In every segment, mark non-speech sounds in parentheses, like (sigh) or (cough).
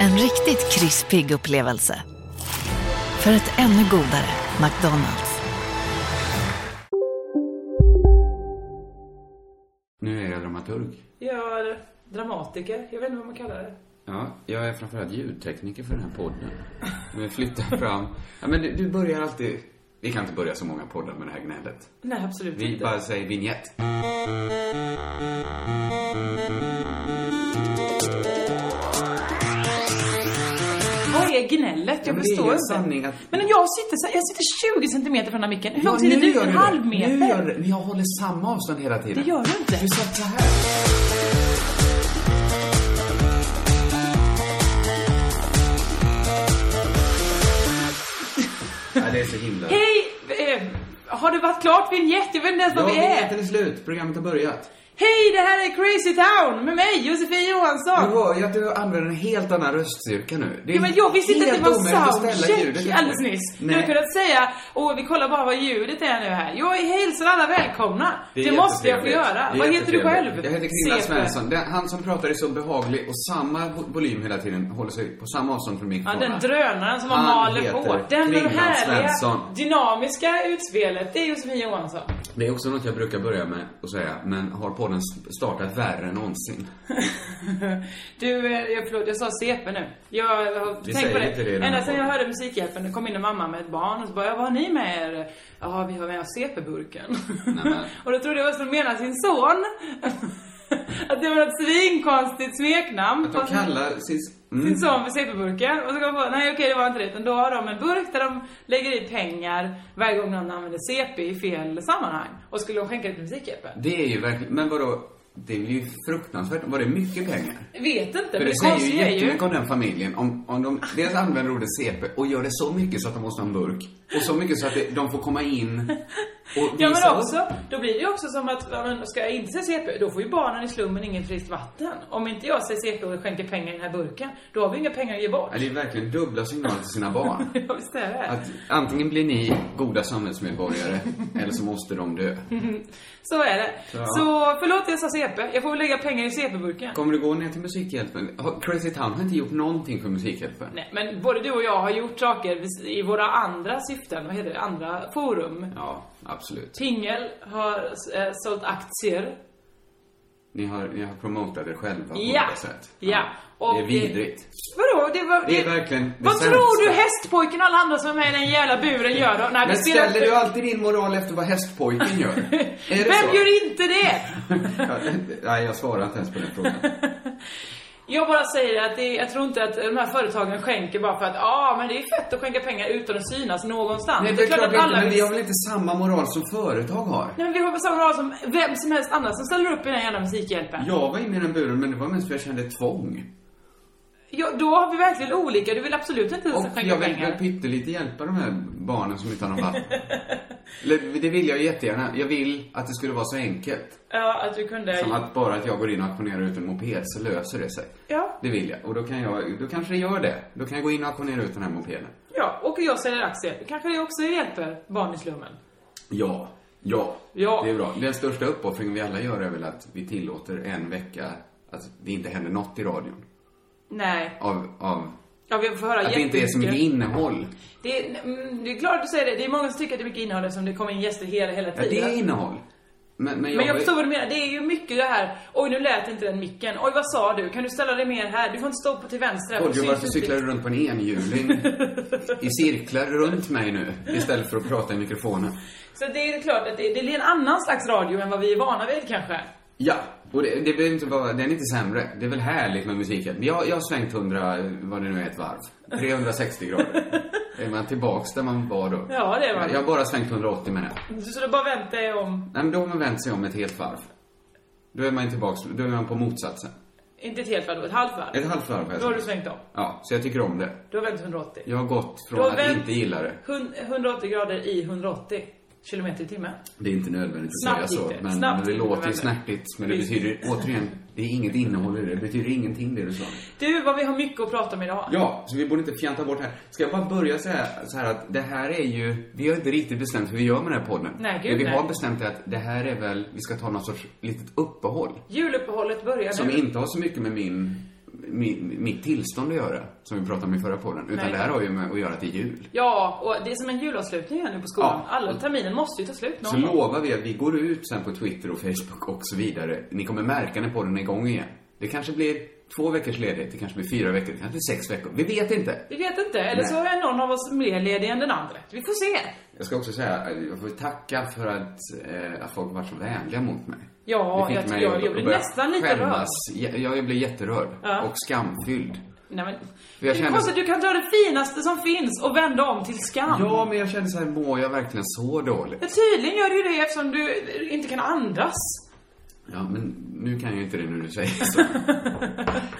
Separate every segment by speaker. Speaker 1: En riktigt krispig upplevelse. För ett ännu godare McDonalds.
Speaker 2: Nu är jag dramaturg.
Speaker 3: Ja, eller dramatiker. Jag vet inte vad man kallar det.
Speaker 2: Ja, jag är framförallt ljudtekniker för den här podden. Men flyttar fram. Ja, men du, du börjar alltid... Vi kan inte börja så många poddar med det här gnället.
Speaker 3: Nej, absolut
Speaker 2: Vi
Speaker 3: inte.
Speaker 2: bara säger vignett.
Speaker 3: Vad är gnället? Jag
Speaker 2: Men det är
Speaker 3: förstår
Speaker 2: ju en
Speaker 3: inte.
Speaker 2: sanning att-
Speaker 3: Men jag sitter, så- jag sitter 20 centimeter från den här micken. Hur långt är
Speaker 2: nu
Speaker 3: det dit?
Speaker 2: gör
Speaker 3: En
Speaker 2: du
Speaker 3: halv
Speaker 2: det.
Speaker 3: meter?
Speaker 2: Nu gör du det. Men jag håller samma avstånd hela tiden.
Speaker 3: Det gör du inte.
Speaker 2: Du satt så här. Ja, det är så himla...
Speaker 3: Hej! Eh, har det varit klart vignett? Jag vet inte ens
Speaker 2: Ja,
Speaker 3: vad vi är.
Speaker 2: vignetten är slut. Programmet har börjat.
Speaker 3: Hej, det här är Crazy Town med mig, Josefin
Speaker 2: Du
Speaker 3: Johansson.
Speaker 2: hör ju att du använder en helt annan röststyrka nu. Det är
Speaker 3: Ja, men jag visste inte att det
Speaker 2: helt
Speaker 3: var
Speaker 2: omöjligt att ställa ljudet
Speaker 3: soundcheck
Speaker 2: efter.
Speaker 3: alldeles nyss. Nu
Speaker 2: Nej.
Speaker 3: har jag kunnat säga, åh vi kollar bara vad ljudet är nu här. Jag hälsar alla välkomna.
Speaker 2: är
Speaker 3: Det, måste jag få
Speaker 2: jättetrevligt.
Speaker 3: göra.
Speaker 2: Det är
Speaker 3: Vad heter du
Speaker 2: jättetrevligt.
Speaker 3: själv?
Speaker 2: Jag heter Kringla
Speaker 3: CP.
Speaker 2: Svensson. Den, han som pratar är så behaglig och samma vo- volym hela tiden, håller sig på samma avstånd från
Speaker 3: Ja,
Speaker 2: mikrofonen.
Speaker 3: den drönaren som man
Speaker 2: Han
Speaker 3: maler
Speaker 2: heter
Speaker 3: på. Den, den
Speaker 2: Kringlan
Speaker 3: härliga,
Speaker 2: Svensson.
Speaker 3: dynamiska utspelet. Det är Josefin Johansson. (laughs)
Speaker 2: Det är också något jag brukar börja med att säga, men har podden s- startat värre än någonsin?
Speaker 3: du, eh, jag, förlåt, jag sa CP nu. Jag har
Speaker 2: Vi
Speaker 3: tänkt på
Speaker 2: säger inte det i
Speaker 3: det.
Speaker 2: den här
Speaker 3: Ända sedan jag
Speaker 2: podden.
Speaker 3: hörde Musikhjälpen, då kom in en mamma med ett barn och så bara, "Ja, vad har ni med er? Ja, vi har med oss CP-burken.
Speaker 2: men.
Speaker 3: (laughs) och då trodde jag att de menade sin son. (laughs) att det var ett svinkonstigt smeknamn.
Speaker 2: Att de
Speaker 3: Fast-
Speaker 2: kallar sin...
Speaker 3: sin
Speaker 2: Mm.
Speaker 3: son för CP-burken och så kom jag på, nej okej det var inte det. Utan då har de en burk där de lägger i pengar varje gång någon använder CP i fel sammanhang. Och skulle de skänka det till Musikhjälpen?
Speaker 2: Det är ju verkligen... Men vadå? Det är ju fruktansvärt. Var det mycket pengar?
Speaker 3: Vet inte,
Speaker 2: För
Speaker 3: men
Speaker 2: det
Speaker 3: det
Speaker 2: säger ju
Speaker 3: konstiga är ju...
Speaker 2: jättemycket om den familjen om, om de dels använder ordet CP och gör det så mycket så att de måste ha en burk och så mycket så att det, de får komma in och
Speaker 3: Ja
Speaker 2: visa
Speaker 3: men
Speaker 2: upp.
Speaker 3: också, då blir det ju också som att, ja, men ska jag inte säga CP, då får ju barnen i slummen inget friskt vatten. Om inte jag säger CP och skänker pengar i den här burken, då har vi inga pengar att ge bort.
Speaker 2: Ja, Det är verkligen dubbla signaler till sina barn.
Speaker 3: (laughs) Ja visst är det.
Speaker 2: Att antingen blir ni goda samhällsmedborgare eller så måste de dö.
Speaker 3: Så är det.
Speaker 2: Ja.
Speaker 3: Så förlåt jag sa CP, jag får väl lägga pengar i CP-burken.
Speaker 2: Kommer du gå ner till Musikhjälpen? Har- Crazy Town har inte gjort någonting för Musikhjälpen.
Speaker 3: Nej, men både du och jag har gjort saker i våra andra syften, vad heter det, andra forum.
Speaker 2: Ja, absolut.
Speaker 3: Pingel har eh, sålt aktier.
Speaker 2: Ni har, ni har promotat er själva på
Speaker 3: Ja.
Speaker 2: olika sätt.
Speaker 3: Ja. Och
Speaker 2: det är vidrigt.
Speaker 3: Vadå? Det, var,
Speaker 2: Det är verkligen det
Speaker 3: Vad
Speaker 2: sämsta.
Speaker 3: tror du hästpojken och alla andra som är med i den jävla buren gör då? När vi
Speaker 2: Men
Speaker 3: spelar
Speaker 2: ställer du alltid din moral efter vad hästpojken
Speaker 3: (laughs)
Speaker 2: gör? Är det
Speaker 3: Vem
Speaker 2: så?
Speaker 3: gör inte det?
Speaker 2: Ja, Nej, jag svarar inte ens på den (laughs) frågan.
Speaker 3: Jag bara säger att det, är- jag tror inte att de här företagen skänker bara för att ja, ah, men det är fett att skänka pengar utan att synas någonstans.
Speaker 2: Nej, det är klart inte, men
Speaker 3: vill
Speaker 2: vi har väl inte samma moral som företag har?
Speaker 3: Nej, men vi har väl samma moral som vem som helst annars som ställer upp i den här jävla Musikhjälpen.
Speaker 2: Jag var inne i den buren, men det var mest för jag kände tvång.
Speaker 3: Ja, då har vi verkligen olika. Du vill absolut inte
Speaker 2: Och
Speaker 3: ens skänka
Speaker 2: jag vill
Speaker 3: pengar.
Speaker 2: väl pyttelite hjälpa de här barnen som inte har någon (laughs) vatten. Eller, Det vill jag ju jättegärna. Jag vill att det skulle vara så enkelt.
Speaker 3: ja, att du kunde...
Speaker 2: Som att bara att jag går in och auktionerar ut en moped så löser det sig.
Speaker 3: Ja.
Speaker 2: Det vill jag. Och då kan jag, då kanske det gör det. Då kan jag gå in och auktionera ut den här mopeden.
Speaker 3: Ja, och jag säljer aktier. Kanske det också hjälper barn i slummen.
Speaker 2: Ja. Ja.
Speaker 3: Ja.
Speaker 2: Det är bra. Den största uppoffringen vi alla gör är väl att vi tillåter en vecka att det inte händer något i radion.
Speaker 3: Nej.
Speaker 2: Av, av
Speaker 3: Ja, vi får höra
Speaker 2: att det inte är så mycket
Speaker 3: jättemycket.
Speaker 2: innehåll.
Speaker 3: Det är, mm, det är klart att du säger det. Det är många som tycker att det är mycket innehåll eftersom det kommer in gäster hela, hela
Speaker 2: Ja,
Speaker 3: tiden.
Speaker 2: det är innehåll. Men, men jag,
Speaker 3: Men jag förstår vad du menar. Det är ju mycket det här. Oj, nu lät inte den micken. Oj, vad sa du? Kan du ställa dig mer här? Du får inte stå på till vänster. här, för
Speaker 2: Kodjo,
Speaker 3: det
Speaker 2: varför
Speaker 3: syns
Speaker 2: cyklar
Speaker 3: (laughs) inte.
Speaker 2: du runt på en
Speaker 3: (laughs)
Speaker 2: enhjuling i cirklar runt mig nu istället för att prata i mikrofonen?
Speaker 3: Så det är klart att det, det är en annan slags radio än vad vi är vana vid kanske.
Speaker 2: Ja, Och det, det behöver inte vara, den är inte sämre. Det är väl härligt med musiken. Jag, jag har svängt 100, vad det nu är, ett varv. 360 grader.
Speaker 3: (laughs)
Speaker 2: är man tillbaks där man var då?
Speaker 3: Ja, det är man.
Speaker 2: Jag, jag har bara svängt 180 menar jag.
Speaker 3: Så du bara väntar jag om,
Speaker 2: Nej, men då har man vänt sig om ett helt varv. Då är man tillbaks, då är man på motsatsen.
Speaker 3: inte ett helt varv, då, ett halvt varv.
Speaker 2: Ett halvt varv har jag
Speaker 3: Då har du
Speaker 2: svängt.
Speaker 3: svängt om.
Speaker 2: Ja, så jag tycker om det.
Speaker 3: Du har vänt 180.
Speaker 2: Jag har gått
Speaker 3: Du
Speaker 2: från
Speaker 3: har
Speaker 2: att
Speaker 3: vänt
Speaker 2: inte gilla det.
Speaker 3: hun- 180 grader i 180 kilometer i timmen.
Speaker 2: Det är inte nödvändigt att
Speaker 3: Snabbt
Speaker 2: säga
Speaker 3: gick
Speaker 2: så.
Speaker 3: det.
Speaker 2: Men,
Speaker 3: Snabbt
Speaker 2: men det
Speaker 3: gick det,
Speaker 2: låter ju
Speaker 3: men-
Speaker 2: snärtigt. Men det
Speaker 3: Visst.
Speaker 2: betyder återigen, det är inget innehåll i det. Det betyder ingenting det du sa.
Speaker 3: Du, vad vi har mycket att prata om idag.
Speaker 2: Ja, så vi borde inte fjanta bort det här. Ska jag bara börja säga så här att det här är ju, vi har inte riktigt bestämt hur vi gör med den här podden.
Speaker 3: Nej, gud,
Speaker 2: det vi
Speaker 3: nej.
Speaker 2: har bestämt är att det här är väl, vi ska ta någon sorts litet uppehåll.
Speaker 3: Juluppehållet börjar
Speaker 2: Som
Speaker 3: nu.
Speaker 2: inte har så mycket med min, min, mitt tillstånd att göra, som vi pratade om i förra podden. Utan
Speaker 3: Nej.
Speaker 2: det här har ju med att göra till jul.
Speaker 3: Ja, och det är som en julavslutning här nu på skolan.
Speaker 2: Ja.
Speaker 3: Alla terminen måste ju ta slut
Speaker 2: Så
Speaker 3: någon gång.
Speaker 2: lovar vi att vi går ut sen på Twitter och Facebook och så vidare. Ni kommer märka när podden är igång igen. Det kanske blir två veckors ledighet, det kanske blir fyra veckor, det kanske blir sex veckor. Vi vet inte.
Speaker 3: Vi vet inte, eller så är någon av oss mer ledig än den andra. Vi får se.
Speaker 2: Jag ska också säga, eh, jag får tacka för att, eh, att folk var så vänliga mot mig.
Speaker 3: Ja,
Speaker 2: Det fick
Speaker 3: jag-
Speaker 2: mig
Speaker 3: jag-
Speaker 2: att-
Speaker 3: jag
Speaker 2: att
Speaker 3: blir
Speaker 2: börja
Speaker 3: nästan lite
Speaker 2: skämmas. Jag, jag blev jätterörd.
Speaker 3: Ja.
Speaker 2: Och skamfylld.
Speaker 3: Nej, men,
Speaker 2: För jag
Speaker 3: det är
Speaker 2: kände-
Speaker 3: konstigt, du kan ta det finaste som finns och vända om till skam.
Speaker 2: Ja, men jag kände så här, mår jag verkligen så dåligt?
Speaker 3: Men Tydligen gör du ju det eftersom du inte kan andas.
Speaker 2: Ja, men nu kan jag ju inte det när du säger
Speaker 3: (laughs)
Speaker 2: så.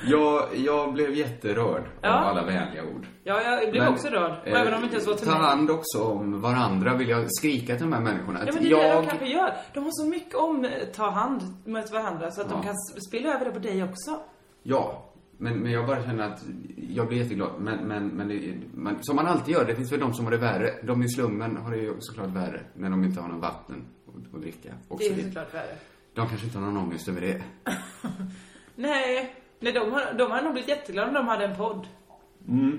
Speaker 2: jag, jag blev jätterörd
Speaker 3: Ja.
Speaker 2: av alla vänliga ord.
Speaker 3: Ja, jag blev
Speaker 2: Men,
Speaker 3: också rörd. Och
Speaker 2: eh,
Speaker 3: även om det inte ens var till
Speaker 2: Ta
Speaker 3: mig.
Speaker 2: hand också om varandra, vill jag skrika till de här människorna.
Speaker 3: Ja,
Speaker 2: Att
Speaker 3: men det är det
Speaker 2: jag...
Speaker 3: de kanske gör. De har så mycket om eh, ta hand mot varandra så att de kan s- spilla över det på dig också.
Speaker 2: Ja, men, men jag bara känner att jag blir jätteglad. Men, men, men det, man, som man alltid gör, det finns väl de som har det värre. De i slummen har det ju såklart värre när de inte har något vatten att- att dricka. Och
Speaker 3: Det
Speaker 2: så
Speaker 3: är
Speaker 2: vidare.
Speaker 3: såklart värre.
Speaker 2: De kanske inte har någon ångest över det.
Speaker 3: Nej, nej de, har, de hade nog blivit jätteglada om de hade en podd.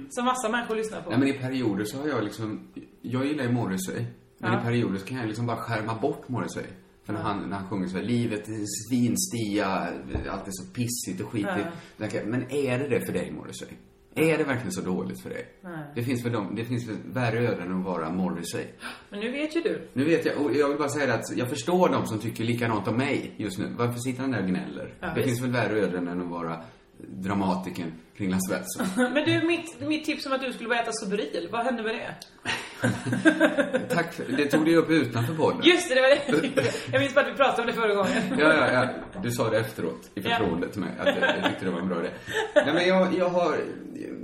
Speaker 3: Som massa människor lyssnar på.
Speaker 2: Nej, Mm. men i perioder så har jag liksom... Jag gillar ju Morrissey. Men
Speaker 3: Ja.
Speaker 2: i perioder så kan jag liksom bara skärma bort Morrissey. För när han, när han sjunger så här, livet är svinstia, allt är så pissigt och skitigt. Då tänker jag, Men är det det för dig Morrissey? Är det verkligen så dåligt för dig? Det finns väl de, det finns väl värre öden än att vara Morrissey.
Speaker 3: men nu vet ju du.
Speaker 2: Nu vet jag, och jag vill bara säga det att jag förstår de som tycker likadant om mig just nu. Varför sitter han där och gnäller? det
Speaker 3: visst.
Speaker 2: finns väl värre öden än att vara dramatikern kring Lasse Svensson.
Speaker 3: Men du, mitt, mitt tips om att du skulle börja äta Sobril, vad hände med det?
Speaker 2: (laughs) Tack för, det tog du ju upp utanför podden.
Speaker 3: Just det, det
Speaker 2: (laughs)
Speaker 3: var det. Jag minns bara att vi pratade om det förra gången.
Speaker 2: Ja, ja, ja. Du sa det efteråt i förtroende till mig, att jag, jag tyckte det var en bra idé. Nej, men jag, jag, har,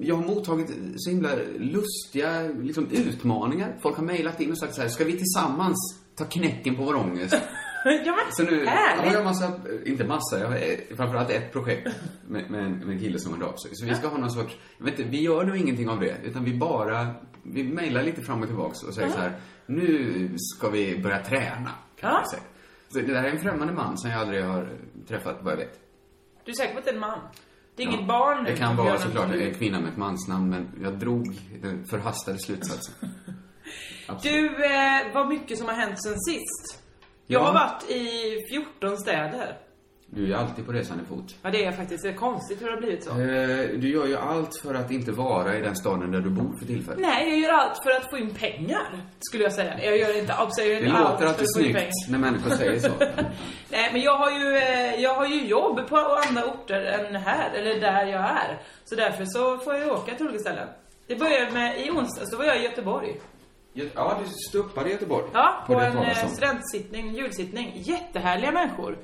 Speaker 2: jag har mottagit så himla lustiga liksom, utmaningar. Folk har mejlat in och sagt så här, ska vi tillsammans ta knäcken på vår ångest?
Speaker 3: (laughs) Ja, men,
Speaker 2: Så nu har
Speaker 3: härligt.
Speaker 2: jag massa, inte massa, jag har eh, framförallt ett projekt med, med, en, med en kille som hörde av sig. Så vi ska ha någon sorts, jag vet inte, vi gör nog ingenting av det, utan vi bara, vi mejlar lite fram och tillbaks och säger så här, nu ska vi börja träna, kan
Speaker 3: Ja.
Speaker 2: man säga. Så det där är en främmande man som jag aldrig har träffat, vad jag vet.
Speaker 3: Du är säker på att det är en man? Det är
Speaker 2: Ja.
Speaker 3: inget barn nu
Speaker 2: Det kan
Speaker 3: som
Speaker 2: vara
Speaker 3: gör
Speaker 2: såklart
Speaker 3: någonting.
Speaker 2: en kvinna med ett mansnamn, men jag drog den förhastade slutsatsen. Absolut.
Speaker 3: Du, eh, vad mycket som har hänt sen sist. Jag
Speaker 2: Ja.
Speaker 3: har varit i 14 städer.
Speaker 2: Du är alltid på resande fot.
Speaker 3: Ja, det är faktiskt det är konstigt hur det har blivit så.
Speaker 2: Eh, Du gör ju allt för att inte vara i den staden där du bor för tillfället.
Speaker 3: Nej, jag gör allt för att få in pengar, skulle jag säga. Jag gör inte allt, jag gör
Speaker 2: Det
Speaker 3: inte allt
Speaker 2: låter alltid
Speaker 3: för att få in
Speaker 2: snyggt
Speaker 3: pengar.
Speaker 2: när människor säger
Speaker 3: (laughs)
Speaker 2: så.
Speaker 3: Nej, men jag har, ju, eh, jag har ju jobb på andra orter än här, eller där jag är. Så därför så får jag ju åka till olika ställen. Det började med, i onsdags, då var jag i Göteborg.
Speaker 2: Ja, du stuppade i Göteborg.
Speaker 3: Ja, på,
Speaker 2: Har du hört
Speaker 3: en
Speaker 2: talas
Speaker 3: eh,
Speaker 2: om?
Speaker 3: studentsittning, julsittning. Jättehärliga människor.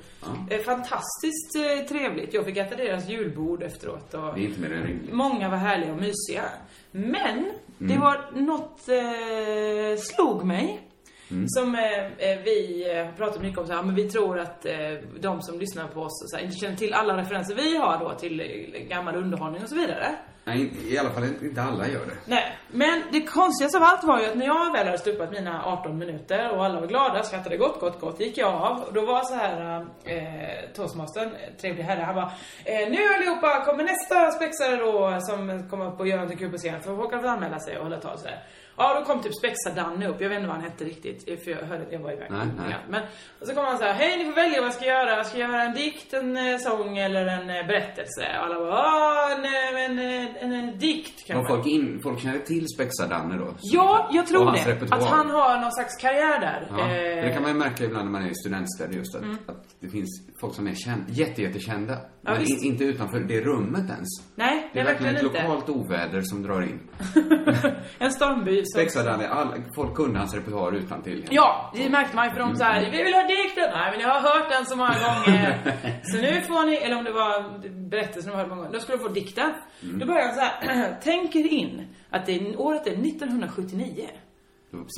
Speaker 3: Eh, Fantastiskt eh, trevligt. Jag fick äta deras julbord efteråt. Och
Speaker 2: Det är inte mer än rimligt.
Speaker 3: Många var härliga och mysiga. Men
Speaker 2: Mm.
Speaker 3: det var något eh, slog mig.
Speaker 2: Mm.
Speaker 3: Som eh, eh, vi eh, har pratat mycket om, så här, men vi tror att eh, de som lyssnar på oss och så här, inte känner till alla referenser vi har då till eh, gammal underhållning och så vidare.
Speaker 2: Nej, inte- i alla fall inte alla gör det.
Speaker 3: Nej, men det konstigaste av allt var ju att när jag väl hade stupat mina 18 minuter och alla var glada, skrattade gott, gott, gott, gick jag av. Och då var så här eh, toastmastern, eh, trevlig herre, han bara eh, Nu allihopa kommer nästa spexare då som kommer upp och gör någonting kul på scen, för folk kan väl anmäla sig och hålla tal sådär. Ja, då kom typ Spexa-Danne upp. Jag vet inte vad han hette riktigt, för jag hörde att jag var iväg.
Speaker 2: Nej, nej.
Speaker 3: Ja, Men, och så kom han så här, hej ni får välja vad jag ska göra. Jag ska göra en dikt, en eh, sång eller en eh, berättelse. Och alla bara, "Ah, en, eh, en, eh, en, en dikt
Speaker 2: Var
Speaker 3: kanske.
Speaker 2: folk, in, folk känner till Spexa-Danne då?
Speaker 3: Ja, jag
Speaker 2: Och
Speaker 3: tror
Speaker 2: hans
Speaker 3: det.
Speaker 2: repertoar.
Speaker 3: Att han har någon slags karriär där.
Speaker 2: Ja,
Speaker 3: Eh, Mm.
Speaker 2: det kan man ju märka ibland när man är i studentstäder just att, att det finns folk som är känd, jätte, jättekända. men
Speaker 3: visst.
Speaker 2: in, inte utanför det rummet ens.
Speaker 3: Nej,
Speaker 2: Det
Speaker 3: det
Speaker 2: är
Speaker 3: är
Speaker 2: verkligen ett
Speaker 3: verkligen inte.
Speaker 2: lokalt oväder som drar in.
Speaker 3: (laughs) en stormby som...
Speaker 2: Spexa-Danne, all- folk kunde hans repertoar utan till.
Speaker 3: Ja, det märkte man ju för de så
Speaker 2: Mm.
Speaker 3: här, vi vill ha dikten. Nej men jag har hört den så många
Speaker 2: (laughs)
Speaker 3: gånger. Så nu får ni, eller om det var berättelsen de hörde många gånger, då skulle de få dikten.
Speaker 2: Mm.
Speaker 3: Då börjar han så här, (clears throat) tänker in att det är, året är 1979.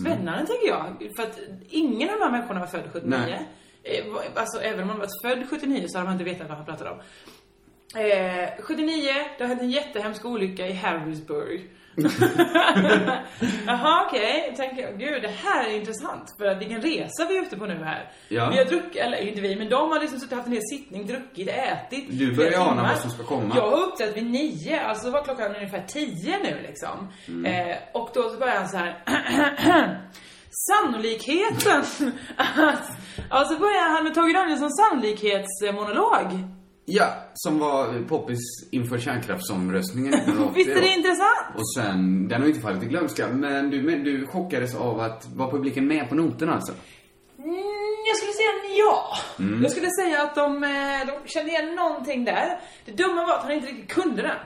Speaker 3: Spännande
Speaker 2: Mm.
Speaker 3: tänker jag. För att ingen av de här människorna var född 79.
Speaker 2: Nej.
Speaker 3: Eh, var- Alltså även om man varit född 79 så hade man inte vetat vad han pratade om. Eh, 79, det hände en jättehemsk olycka
Speaker 2: (laughs)
Speaker 3: i Harrisburg. Jaha, okej. Jag tänker, gud det här är intressant. För att vilken resa vi är ute på nu här.
Speaker 2: Ja.
Speaker 3: Vi har druckit, eller inte vi, men de har liksom suttit och haft en hel sittning, druckit, ätit.
Speaker 2: Du börjar
Speaker 3: flera
Speaker 2: ana
Speaker 3: timmar.
Speaker 2: vad som ska komma.
Speaker 3: Jag var uppsatt vid nio, alltså var klockan ungefär tio nu liksom.
Speaker 2: Mm.
Speaker 3: Eh, och då så börjar han så här (clears throat) Sannolikheten att... Ja, så börjar han med Tage Danielsson sannolikhetsmonolog.
Speaker 2: Ja, som var poppis inför
Speaker 3: (laughs)
Speaker 2: kärnkraftsomröstningen 1980.
Speaker 3: Visst är det intressant?
Speaker 2: Och sen, den har ju inte fallit i glömska, men du, men du chockades av att, var publiken med på noterna alltså?
Speaker 3: Mm, jag skulle säga en ja.
Speaker 2: Mm.
Speaker 3: Jag skulle säga att de, eh, de kände igen någonting där. Det dumma var att han inte riktigt kunde den.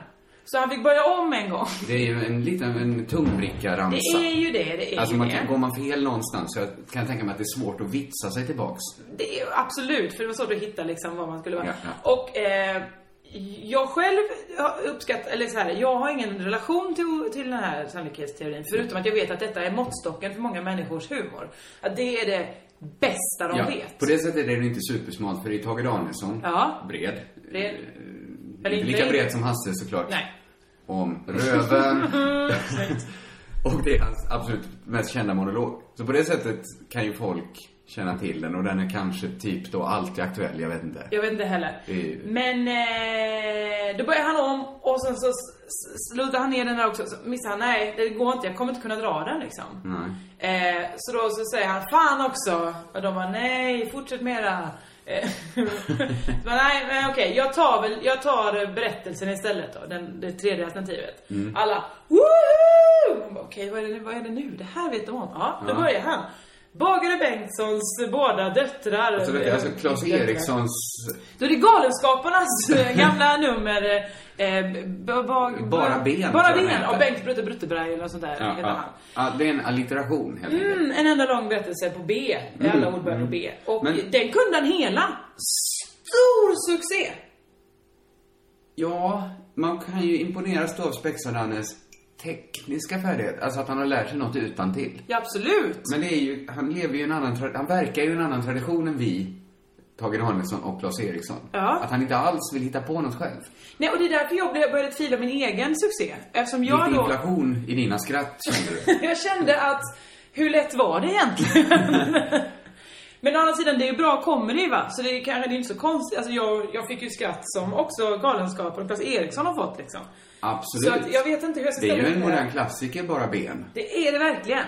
Speaker 3: Så han fick börja om en gång.
Speaker 2: Det är ju en liten en
Speaker 3: Det
Speaker 2: tungbricka-ramsa.
Speaker 3: är ju det, det är
Speaker 2: Alltså
Speaker 3: ju
Speaker 2: man
Speaker 3: det.
Speaker 2: kan, går man fel någonstans, så jag kan tänka mig att det är svårt att vitsa sig tillbaks.
Speaker 3: Det är, absolut, för det var så du hittade liksom vad man skulle vara.
Speaker 2: Ja, ja.
Speaker 3: Och eh, jag själv har uppskattat, eller så här, jag har ingen relation till, till den här sannolikhetsteorin. Förutom att jag vet att detta är måttstocken för många människors humor. Att det är det bästa de vet.
Speaker 2: På det sättet är den inte supersmal, för det är Tage Danielsson,
Speaker 3: Ja.
Speaker 2: bred.
Speaker 3: Bred.
Speaker 2: Eh, inte
Speaker 3: Eller inte
Speaker 2: lika
Speaker 3: bred.
Speaker 2: bred som Hasse såklart.
Speaker 3: Nej.
Speaker 2: Om
Speaker 3: (laughs)
Speaker 2: röven. och det är hans absolut mest kända monolog. Så på det sättet kan ju folk känna till den och den är kanske typ då alltid aktuell, jag vet inte.
Speaker 3: Jag vet inte heller.
Speaker 2: Det är ju-
Speaker 3: Men eh, då börjar han om och sen så s- s- slutar han ner den där också. Så missar han, nej det går inte, jag kommer inte kunna dra den liksom. Eh, så då så säger han, fan också. Och de bara, nej fortsätt med det. Eh, (laughs) så bara, nej men okej, jag tar väl, jag tar eh, berättelsen istället då. Den, det tredje alternativet.
Speaker 2: Mm.
Speaker 3: Alla, woho! Man bara, Okej, vad, är det nu- vad är det nu? Det här vet de om. Ja, då börjar han. Bagare Bengtssons båda döttrar.
Speaker 2: Så det är alltså Claes
Speaker 3: Döttrar.
Speaker 2: Erikssons
Speaker 3: Då är det Galenskaparnas
Speaker 2: (laughs)
Speaker 3: eh, gamla nummer eh, eh, ba- ba-
Speaker 2: Bara ben, tror
Speaker 3: Bara
Speaker 2: jag
Speaker 3: ben
Speaker 2: den
Speaker 3: av
Speaker 2: heter.
Speaker 3: Bengt Brutte Brutteberg eller något sånt där
Speaker 2: Ja,
Speaker 3: heter
Speaker 2: ja.
Speaker 3: han.
Speaker 2: ja, det är en allitteration helt enkelt.
Speaker 3: Mm, en enda lång berättelse på B. Alla ord börjar på B. Och
Speaker 2: Mm, Men-
Speaker 3: den kunde han hela. Stor succé!
Speaker 2: Ja, man kan ju imponeras då av Spexadannes tekniska färdighet. Alltså att han har lärt sig något utan till.
Speaker 3: Ja, absolut.
Speaker 2: Men det är ju, han lever ju i en annan, tra- han verkar ju i en annan tradition än vi, Tage Danielsson och Claes Eriksson.
Speaker 3: Ja.
Speaker 2: Att han inte alls vill hitta på något själv.
Speaker 3: Nej, och det är därför jag blev- började tvivla min egen succé. Eftersom
Speaker 2: Lite
Speaker 3: jag då...
Speaker 2: inflation i dina
Speaker 3: (laughs)
Speaker 2: skratt, känner du.
Speaker 3: Jag kände att, hur lätt var det egentligen? (laughs) Men å andra sidan, det är ju bra comedy va? Så det är kanske det är inte så konstigt. Alltså jag, jag fick ju skratt som också Galenskaparna och Claes Eriksson har fått liksom.
Speaker 2: Absolut.
Speaker 3: Så att jag vet inte hur jag ska
Speaker 2: det är ju
Speaker 3: ställa
Speaker 2: en
Speaker 3: mig.
Speaker 2: modern klassiker, bara ben.
Speaker 3: Det är det verkligen.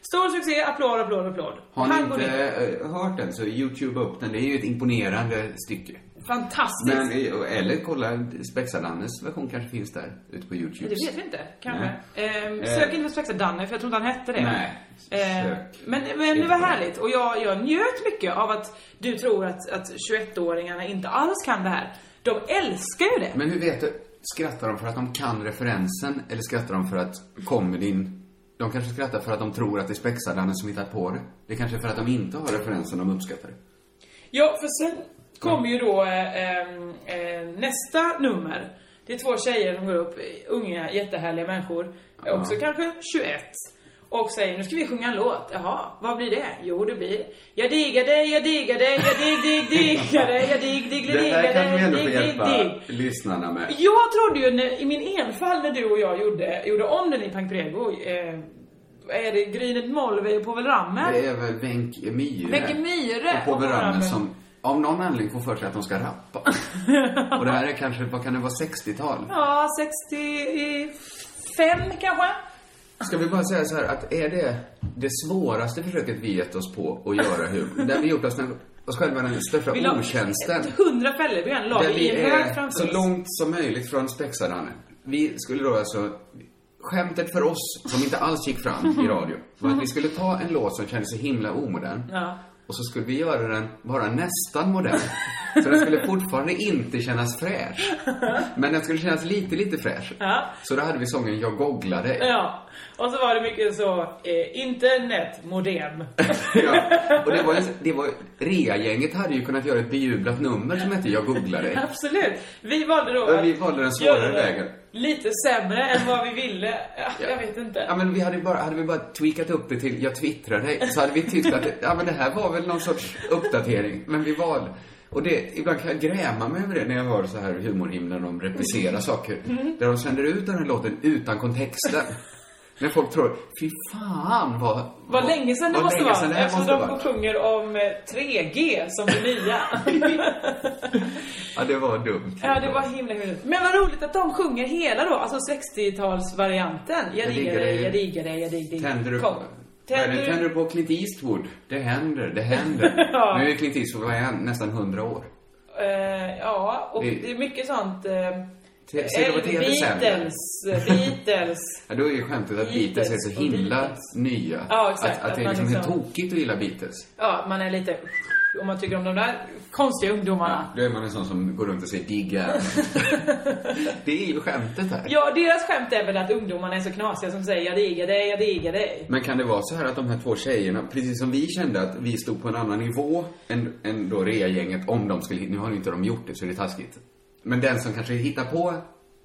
Speaker 3: Stor succé, applåd, applåd, applåd.
Speaker 2: Har ni
Speaker 3: Han går
Speaker 2: inte
Speaker 3: ner.
Speaker 2: eh, hört den så youtube upp den. Det är ju ett imponerande stycke.
Speaker 3: Fantastiskt.
Speaker 2: Men, eh, eller kolla, Spexadannes version kanske finns där ute på Youtube.
Speaker 3: Det vet vi inte, kanske. Ehm,
Speaker 2: Eh.
Speaker 3: sök inte på Spexa Danne, för jag tror inte han hette det.
Speaker 2: Nej,
Speaker 3: Ehm,
Speaker 2: sök.
Speaker 3: men, men det var härligt. Och jag, jag njöt mycket av att du tror att, att 21-åringarna inte alls kan det här. De älskar ju det.
Speaker 2: Men hur vet du? Skrattar de för att de kan referensen eller skrattar de för att comedyn... De kanske skrattar för att de tror att det är Spexadanne som hittat på det. Det är kanske är för att de inte har referensen de uppskattar det.
Speaker 3: Ja, för sen kommer ju då eh, ehm, eh, nästa nummer. Det är två tjejer som går upp, eh, unga jättehärliga människor, eh, också kanske 21. Och säger nu ska vi sjunga en låt. Jaha, vad blir det? Jo, det blir Jag diggar dig, jag diggar dig, jag digg, digg, diggar dig, jag digg, digg, diggar dig, jag digg, digg, digg.
Speaker 2: lyssnarna med.
Speaker 3: Jag trodde ju när, i min enfald när du och jag gjorde, gjorde om den i Pank Prego, eh, vad är det Grynet Molve på väl Rammen?
Speaker 2: Det är väl Wenche Myhre.
Speaker 3: Wenche Myhre
Speaker 2: Och Povel
Speaker 3: och
Speaker 2: Ramel
Speaker 3: Ramel.
Speaker 2: som av någon anledning får för sig att de ska rappa. och det här är kanske, vad kan det vara, 60-tal?
Speaker 3: Ja, 65 kanske?
Speaker 2: Ska vi bara säga så här att är det det svåraste försöket vi gett oss på att göra humor, där vi gjort oss, oss själva den största
Speaker 3: Vi la
Speaker 2: otjänsten.
Speaker 3: hundra fällor la
Speaker 2: Där
Speaker 3: vi i
Speaker 2: vi
Speaker 3: en hög
Speaker 2: är
Speaker 3: framför
Speaker 2: så
Speaker 3: oss.
Speaker 2: långt som möjligt från spexarna. Vi skulle då alltså... Skämtet för oss, som inte alls gick fram i radio, var att vi skulle ta en låt som kändes så himla omodern.
Speaker 3: Ja.
Speaker 2: Och så skulle vi göra den bara nästan modern. Så den skulle fortfarande inte kännas fräsch. Men den skulle kännas lite, lite fräsch.
Speaker 3: Ja.
Speaker 2: Så då hade vi sången Jag googlade.
Speaker 3: Ja, och så var det mycket så, eh, internet,
Speaker 2: (laughs)
Speaker 3: modem.
Speaker 2: Ja. Och det var ju, det var, rea-gänget hade ju kunnat göra ett bejublat nummer som hette Jag googlade.
Speaker 3: Absolut. Vi valde då
Speaker 2: Ja,
Speaker 3: att
Speaker 2: vi valde den svårare
Speaker 3: göra det
Speaker 2: vägen.
Speaker 3: Lite sämre än vad vi ville. Ja, Jag vet
Speaker 2: Ja,
Speaker 3: inte.
Speaker 2: men vi hade, ju bara, hade vi bara tweakat upp det till jag twittrar dig så hade vi tyckt att ja, men det här var väl någon sorts uppdatering. Men vi valde. Och det, ibland kan jag gräma mig över det när jag hör så här humorhimlen de repriserar saker.
Speaker 3: Mm.
Speaker 2: Där de sänder ut den här låten utan kontexten. När folk tror, fy fan vad...
Speaker 3: Vad länge sedan det
Speaker 2: vad
Speaker 3: måste
Speaker 2: länge sedan
Speaker 3: vara.
Speaker 2: det här
Speaker 3: Eftersom
Speaker 2: måste
Speaker 3: de
Speaker 2: vara.
Speaker 3: sjunger om eh, 3G som
Speaker 2: (laughs)
Speaker 3: det nya.
Speaker 2: Ja, det var dumt.
Speaker 3: ja, det var himla himla Men vad roligt att de sjunger hela då, alltså 60-talsvarianten. Jag diggar dig, jag diggar dig, jag diggar dig.
Speaker 2: Tänder du
Speaker 3: Kom.
Speaker 2: på...
Speaker 3: Tänder
Speaker 2: Tänder,
Speaker 3: du-
Speaker 2: tänder du på Clint Eastwood? Det händer, det händer.
Speaker 3: (laughs) Ja.
Speaker 2: Nu är Clint Eastwood, vad är han? Nästan hundra år.
Speaker 3: Eh, ja, och
Speaker 2: Det-
Speaker 3: det är mycket sånt. Eh,
Speaker 2: Te- ser du på TV sen?
Speaker 3: Beatles, Beatles.
Speaker 2: Ja, då är ju skämtet att
Speaker 3: Beatles
Speaker 2: Beatles är så
Speaker 3: och
Speaker 2: himla
Speaker 3: Beatles.
Speaker 2: nya.
Speaker 3: Ja, exakt.
Speaker 2: Att, att det är
Speaker 3: Att man
Speaker 2: liksom helt
Speaker 3: liksom-
Speaker 2: tokigt att gilla Beatles.
Speaker 3: Ja, man är lite... Om man tycker om de där konstiga ungdomarna.
Speaker 2: Då är man en sån som går runt och säger
Speaker 3: (laughs)
Speaker 2: digga. det är ju skämtet här.
Speaker 3: Ja, deras skämt är väl att ungdomarna är så knasiga som säger jag diggar dig, jag diggar dig.
Speaker 2: Men kan det vara så här att de här två tjejerna, precis som vi kände att vi stod på en annan nivå än, än då rea-gänget, om de skulle Nu har ju inte de gjort det, så det är taskigt. Men den som kanske hittar på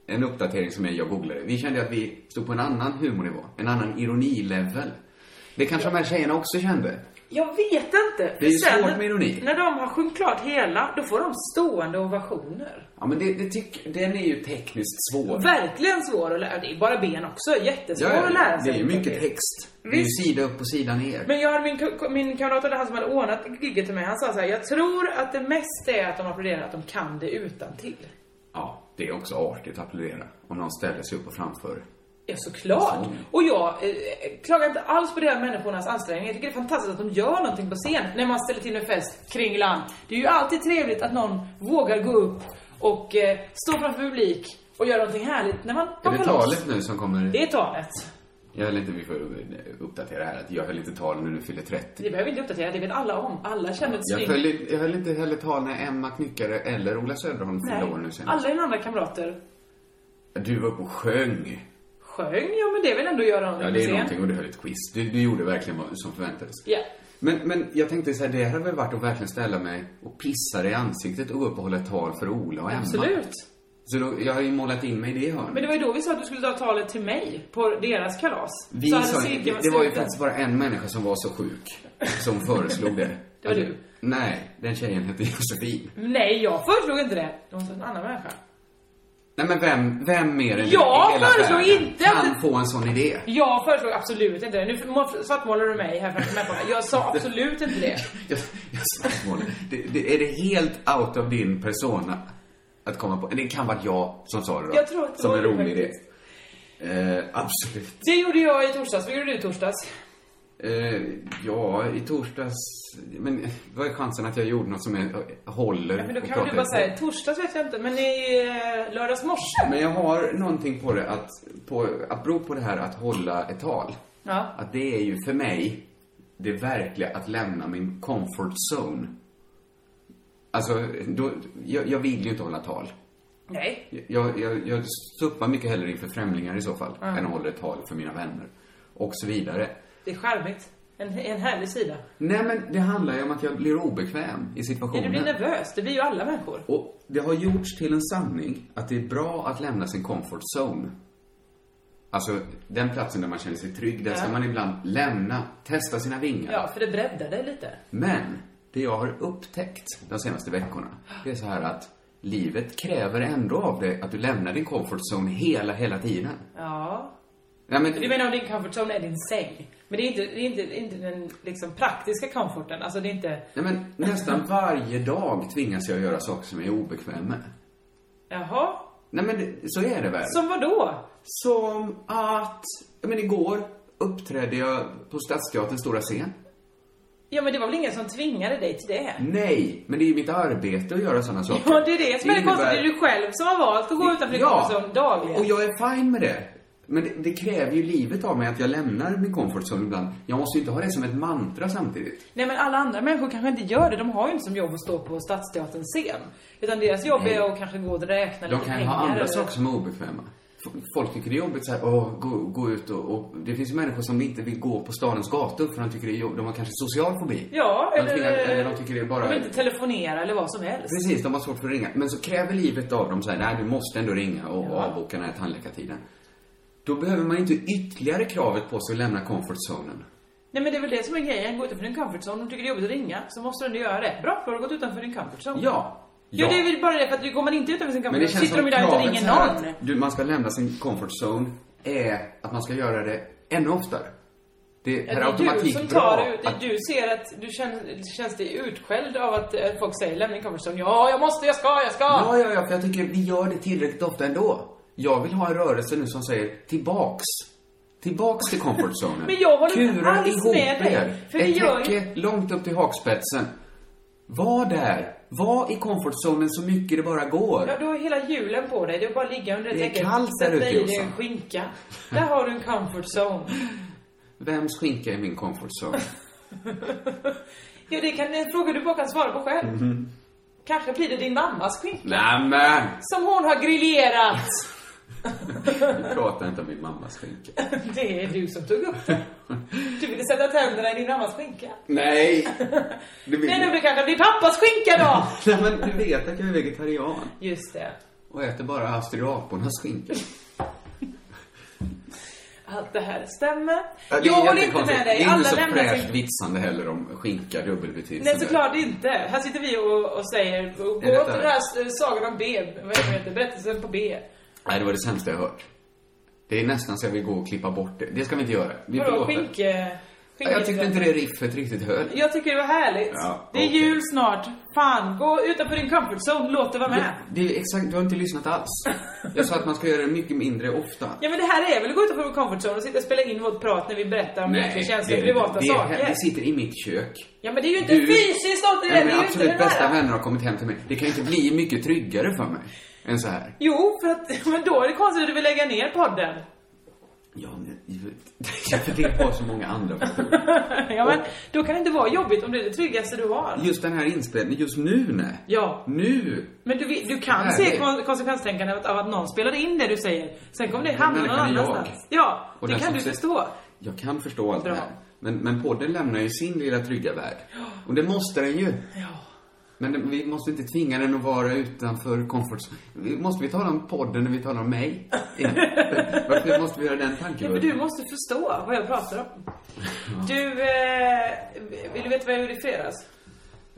Speaker 2: en uppdatering som är jag googlade. Vi kände att vi stod på en annan humornivå, en annan ironilevel. Det kanske de här tjejerna också kände.
Speaker 3: Jag vet inte.
Speaker 2: Det är ju
Speaker 3: För sen
Speaker 2: svårt med ironi.
Speaker 3: När de har sjungit klart hela, då får de stående ovationer.
Speaker 2: Ja, men det, det tyck, den är ju tekniskt svår.
Speaker 3: Verkligen svår att lära. Det är bara ben också. Jättesvår
Speaker 2: Ja,
Speaker 3: att lära
Speaker 2: det
Speaker 3: sig.
Speaker 2: är ju mycket text. Det är ju
Speaker 3: Visst.
Speaker 2: sida upp och sida ner.
Speaker 3: Men jag hade min, k- min kamrat, eller han som hade ordnat gigget till mig, han sa så här, jag tror att det mesta är att de applåderar att de kan det utan till.
Speaker 2: Ja, det är också artigt att applådera om någon ställer sig upp och framför.
Speaker 3: Ja, såklart.
Speaker 2: Mm.
Speaker 3: Och jag eh, klagar inte alls på de här människornas ansträngning. Jag tycker det är fantastiskt att de gör någonting på scen när man ställer till en fest kring land. Det är ju alltid trevligt att någon vågar gå upp och eh, stå framför publik och göra någonting härligt när man
Speaker 2: Är det talet nu som kommer?
Speaker 3: Det är talet.
Speaker 2: Jag höll inte, vi får uppdatera här, att jag höll inte tal när du fyllde 30.
Speaker 3: Det behöver vi inte uppdatera, det vet alla om. Alla känner ett
Speaker 2: Jag
Speaker 3: stygn.
Speaker 2: höll, jag höll inte heller tal när Emma Knyckare eller Ola Söderholm
Speaker 3: Nej,
Speaker 2: fyllde år nu senast.
Speaker 3: alla dina andra kamrater
Speaker 2: Du var uppe och sjöng.
Speaker 3: sjöng. Ja, men det vill ändå göra någonting
Speaker 2: Ja, det är
Speaker 3: på
Speaker 2: någonting
Speaker 3: scen.
Speaker 2: och du höll ett quiz. Du, du gjorde verkligen vad som förväntades.
Speaker 3: Ja.
Speaker 2: Men, men jag tänkte så här, det hade väl varit att verkligen ställa mig och pissa dig i ansiktet och gå upp och hålla ett tal för Ola och Emma.
Speaker 3: Absolut.
Speaker 2: Så då, jag har ju målat in mig i det hörnet.
Speaker 3: Men det var ju då vi sa att du skulle ta talet till mig på deras kalas.
Speaker 2: Vi
Speaker 3: Så hade
Speaker 2: sa,
Speaker 3: cirkeln
Speaker 2: det, det var ju
Speaker 3: sluten.
Speaker 2: faktiskt bara en människa som var så sjuk som föreslog det.
Speaker 3: (laughs) Det var
Speaker 2: Att-
Speaker 3: du.
Speaker 2: Nej, den tjejen hette Josefin.
Speaker 3: Nej, jag föreslog inte det. Det var en annan människa.
Speaker 2: Nej men vem, vem mer än
Speaker 3: Jag
Speaker 2: i hela
Speaker 3: föreslog
Speaker 2: världen
Speaker 3: inte att
Speaker 2: kan
Speaker 3: det-
Speaker 2: få en sån idé?
Speaker 3: Jag föreslog absolut inte det. Nu må- svartmålar du mig här framför människorna. Jag sa absolut inte
Speaker 2: (laughs)
Speaker 3: det.
Speaker 2: Jag, jag svartmålar. det, det, är det helt out of din persona att komma på? Det kan vara jag som sa det då.
Speaker 3: Jag tror att det
Speaker 2: Som
Speaker 3: var
Speaker 2: en
Speaker 3: det
Speaker 2: rolig idé.
Speaker 3: faktiskt.
Speaker 2: Eh, absolut.
Speaker 3: Det gjorde jag i torsdags. Vad gjorde du i torsdags?
Speaker 2: Eh, ja, i torsdags... Men vad är chansen att jag gjorde något som jag håller?
Speaker 3: Men då
Speaker 2: och
Speaker 3: kan väl
Speaker 2: pratar
Speaker 3: du bara
Speaker 2: på?
Speaker 3: säga, torsdags vet jag inte, men i eh, lördags morse.
Speaker 2: Men jag har någonting på det att, på, att bero på det här att hålla ett tal.
Speaker 3: Ja.
Speaker 2: Att det är ju för mig det verkliga att lämna min comfort zone. Alltså, då, jag, jag vill ju inte hålla tal.
Speaker 3: Nej.
Speaker 2: Jag, jag, jag suppar mycket hellre inför främlingar i så fall, än håller ett tal för mina vänner. Och så vidare.
Speaker 3: Det är charmigt. En, en härlig sida.
Speaker 2: Nej, men det handlar ju om att jag blir obekväm i
Speaker 3: Men
Speaker 2: situationen.
Speaker 3: du blir nervös. Det blir ju alla människor.
Speaker 2: Och det har gjorts till en sanning att det är bra att lämna sin comfort zone. Alltså, den platsen där man känner sig trygg, där ska man ibland lämna, testa sina vingar.
Speaker 3: Ja, för det breddar dig lite.
Speaker 2: Men, det jag har upptäckt de senaste veckorna, det är så här att livet kräver ändå av dig att du lämnar din comfort zone hela, hela tiden.
Speaker 3: Ja.
Speaker 2: Nej, men,
Speaker 3: Du menar om din comfort zone är din säng? Men det är inte, det är inte, det är inte den liksom praktiska comforten. Alltså det är inte...
Speaker 2: nej, men nästan varje dag tvingas jag göra saker som jag är obekväm med.
Speaker 3: Jaha?
Speaker 2: Nej, men det, så är det väl?
Speaker 3: Som vad då?
Speaker 2: Som att, ja, men igår uppträdde jag på Stadsteaterns stora scen.
Speaker 3: Ja, men det var väl ingen som tvingade dig till det?
Speaker 2: Mm. Nej, men det är ju mitt arbete att göra sådana saker.
Speaker 3: (laughs) Ja, det är det som är det konstiga. Det är
Speaker 2: innebär-
Speaker 3: du själv som har valt att gå utanför din komfortzon dagligen.
Speaker 2: och jag är fine med det. Men det, det kräver ju livet av mig att jag lämnar min comfort zone ibland. Jag måste ju inte ha det som ett mantra samtidigt.
Speaker 3: Nej men alla andra människor kanske inte gör det. De har ju inte som jobb att stå på Stadsteaterns scen. Utan deras jobb är att kanske gå och räkna
Speaker 2: De
Speaker 3: lite
Speaker 2: kan ju
Speaker 3: pengar.
Speaker 2: ha andra
Speaker 3: eller-
Speaker 2: saker som är obekväma. F- Folk tycker det är jobbigt så här, åh, gå, gå ut och, och... Det finns ju människor som inte vill gå på stadens gator för de tycker det är jobbigt. De har kanske social fobi.
Speaker 3: Ja,
Speaker 2: de
Speaker 3: eller,
Speaker 2: tvingar- eller de tycker det är bara...
Speaker 3: De vill inte telefonera eller vad som helst.
Speaker 2: Precis, de har svårt för att ringa. Men så kräver livet av dem så här, nej du måste ändå ringa och avboka den här tandläkartiden. Då behöver man inte ytterligare kravet på sig att lämna comfortzonen.
Speaker 3: Nej men det är väl det som är grejen. Gå utanför din comfort zone. Om du tycker det är jobbigt att ringa så måste du ändå göra det. Bra, för du har gått utanför din comfort zone.
Speaker 2: Ja.
Speaker 3: Ja, det är väl bara det för att du kommer inte utanför sin
Speaker 2: Men
Speaker 3: comfort
Speaker 2: det
Speaker 3: zone.
Speaker 2: känns
Speaker 3: Sitter de
Speaker 2: som
Speaker 3: ju där och
Speaker 2: kravet
Speaker 3: inte
Speaker 2: så
Speaker 3: ringer
Speaker 2: här
Speaker 3: någon.
Speaker 2: att du, man ska lämna sin comfortzone är att man ska göra det ännu oftare. Det är per
Speaker 3: Ja, det är du
Speaker 2: automatik
Speaker 3: som
Speaker 2: bra.
Speaker 3: tar ut,
Speaker 2: att-
Speaker 3: du ser att du känns, känns dig utskälld av att eh, folk säger lämna din comfort zone. Ja, jag måste, jag ska, jag ska.
Speaker 2: Ja, ja, ja, för jag tycker vi gör det tillräckligt ofta ändå. Jag vill ha en rörelse nu som säger tillbaks. Tillbaks till
Speaker 3: (laughs)
Speaker 2: comfortzonen.
Speaker 3: Men jag håller inte
Speaker 2: Kura
Speaker 3: alls
Speaker 2: ihop
Speaker 3: med dig,
Speaker 2: er.
Speaker 3: för
Speaker 2: Ett
Speaker 3: vi gör ju-
Speaker 2: täcke långt upp till hakspetsen. Var där. Var i comfortzonen så mycket det bara går.
Speaker 3: Ja, du har hela julen på dig. Det är bara att ligga under ett
Speaker 2: Det är
Speaker 3: täcke.
Speaker 2: kallt där
Speaker 3: Sätta
Speaker 2: ute,
Speaker 3: i dig
Speaker 2: Jossan.
Speaker 3: en skinka. Där har du en comfort zone. (laughs)
Speaker 2: Vems skinka är min comfortzone?
Speaker 3: Ja, det kan det är en fråga du bara kan svara på själv.
Speaker 2: Mhm.
Speaker 3: Kanske blir det din mammas skinka.
Speaker 2: (laughs) Nämen!
Speaker 3: Som hon har grillerat.
Speaker 2: Vi pratar inte om min mammas skinka.
Speaker 3: (laughs) Det är du som tog upp det. Du ville sätta tänderna i din mammas skinka.
Speaker 2: Nej!
Speaker 3: (laughs)
Speaker 2: Du vet,
Speaker 3: Men nu blir kanske din pappas skinka då.
Speaker 2: Nej, men du vet att jag är vegetarian
Speaker 3: Just det.
Speaker 2: och äter bara Astrid Apornas skinka.
Speaker 3: Allt det här stämmer.
Speaker 2: Ja, det är
Speaker 3: Jag håller inte
Speaker 2: jättekonstigt.
Speaker 3: med dig.
Speaker 2: Det är inte
Speaker 3: Alla
Speaker 2: så
Speaker 3: lämnar sin
Speaker 2: fräscht vitsande heller om skinka dubbelbetydelse.
Speaker 3: Nej, såklart inte. Här sitter vi och, och säger, gå
Speaker 2: Är detta-
Speaker 3: till den här eh, sagan om B, vad heter det, berättelsen på B.
Speaker 2: Nej, det var det sämsta jag hört. Det är nästan så jag vill gå och klippa bort det. Det ska vi inte göra. Vi
Speaker 3: Vadå,
Speaker 2: förlåter.
Speaker 3: skinke...
Speaker 2: Ja, Jag tyckte inte det riffet riktigt höll.
Speaker 3: Jag tycker det var härligt.
Speaker 2: Ja,
Speaker 3: det är
Speaker 2: okej.
Speaker 3: jul snart. Fan, gå utanför din comfort zone, låt det vara med.
Speaker 2: Det är exakt, du har inte lyssnat
Speaker 3: (laughs)
Speaker 2: alls. Jag sa att man ska göra det mycket mindre ofta.
Speaker 3: Ja men det här är väl att gå utanför vår comfort zone och sitta och spela in vårt prat när vi berättar om mycket känsliga
Speaker 2: det är-
Speaker 3: privata
Speaker 2: det är-
Speaker 3: saker.
Speaker 2: Det sitter i mitt kök.
Speaker 3: Ja men det är ju inte
Speaker 2: Du-
Speaker 3: fysiskt något i det,
Speaker 2: Nej,
Speaker 3: det är
Speaker 2: mina
Speaker 3: ju inte det
Speaker 2: absolut bästa
Speaker 3: där.
Speaker 2: vänner har kommit hem till mig. Det kan ju inte bli mycket tryggare för mig än så här.
Speaker 3: Jo, för att, (laughs) men då är det konstigt att du vill lägga ner podden. (laughs)
Speaker 2: Ja, men, (laughs) jag vet på så många andra faktorer.
Speaker 3: Ja men, då kan det inte vara jobbigt om det är det tryggaste du har.
Speaker 2: Just den här inspelningen, just nu nej.
Speaker 3: Ja.
Speaker 2: Nu!
Speaker 3: Men du, vet- du kan
Speaker 2: Nej,
Speaker 3: se
Speaker 2: det-
Speaker 3: kon- konsekvenstänkande av att- av att någon spelade in det du säger. Sen kommer det hamna någon
Speaker 2: människan är jag.
Speaker 3: annanstans. Ja,
Speaker 2: Och
Speaker 3: det
Speaker 2: den
Speaker 3: kan
Speaker 2: som
Speaker 3: du
Speaker 2: ser-
Speaker 3: förstå.
Speaker 2: Jag kan förstå allt
Speaker 3: Bra.
Speaker 2: det här. Men, men podden lämnar ju sin lilla trygga värld. Och det måste den ju. Men den- vi måste inte tvinga den att vara utanför comfort zone. Vi- Måste vi tala om podden när vi talar om mig?
Speaker 3: (laughs)
Speaker 2: Igen. Varför måste vi göra den
Speaker 3: Ja,
Speaker 2: tanken?
Speaker 3: men du måste förstå vad jag
Speaker 2: (laughs)
Speaker 3: pratar om. Du, eh, vill du veta vad jag gjorde i fredags?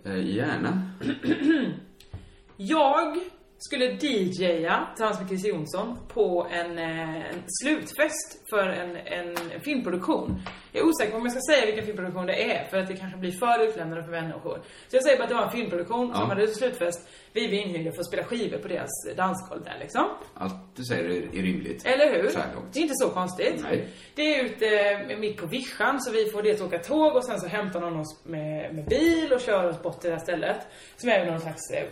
Speaker 2: eh, gärna.
Speaker 3: Jag skulle DJa tillsammans med Chris Jonsson på en, eh, en slutfest för en, en filmproduktion. Jag är osäker på om jag ska säga vilken filmproduktion det är för att det kanske blir för utlämnande för människor. Så jag säger bara att det var en filmproduktion som hade slutfest. Vi blev inhyrda för att spela skivor på deras dansgolv där liksom.
Speaker 2: Allt du säger är, är rimligt.
Speaker 3: Eller hur?
Speaker 2: Så här långt.
Speaker 3: Det är inte så konstigt.
Speaker 2: Nej.
Speaker 3: Det är ute eh, mitt på vischan så vi får dels åka tåg och sen så hämtar någon oss med, med bil och kör oss bort till det här stället. Som är någon slags eh,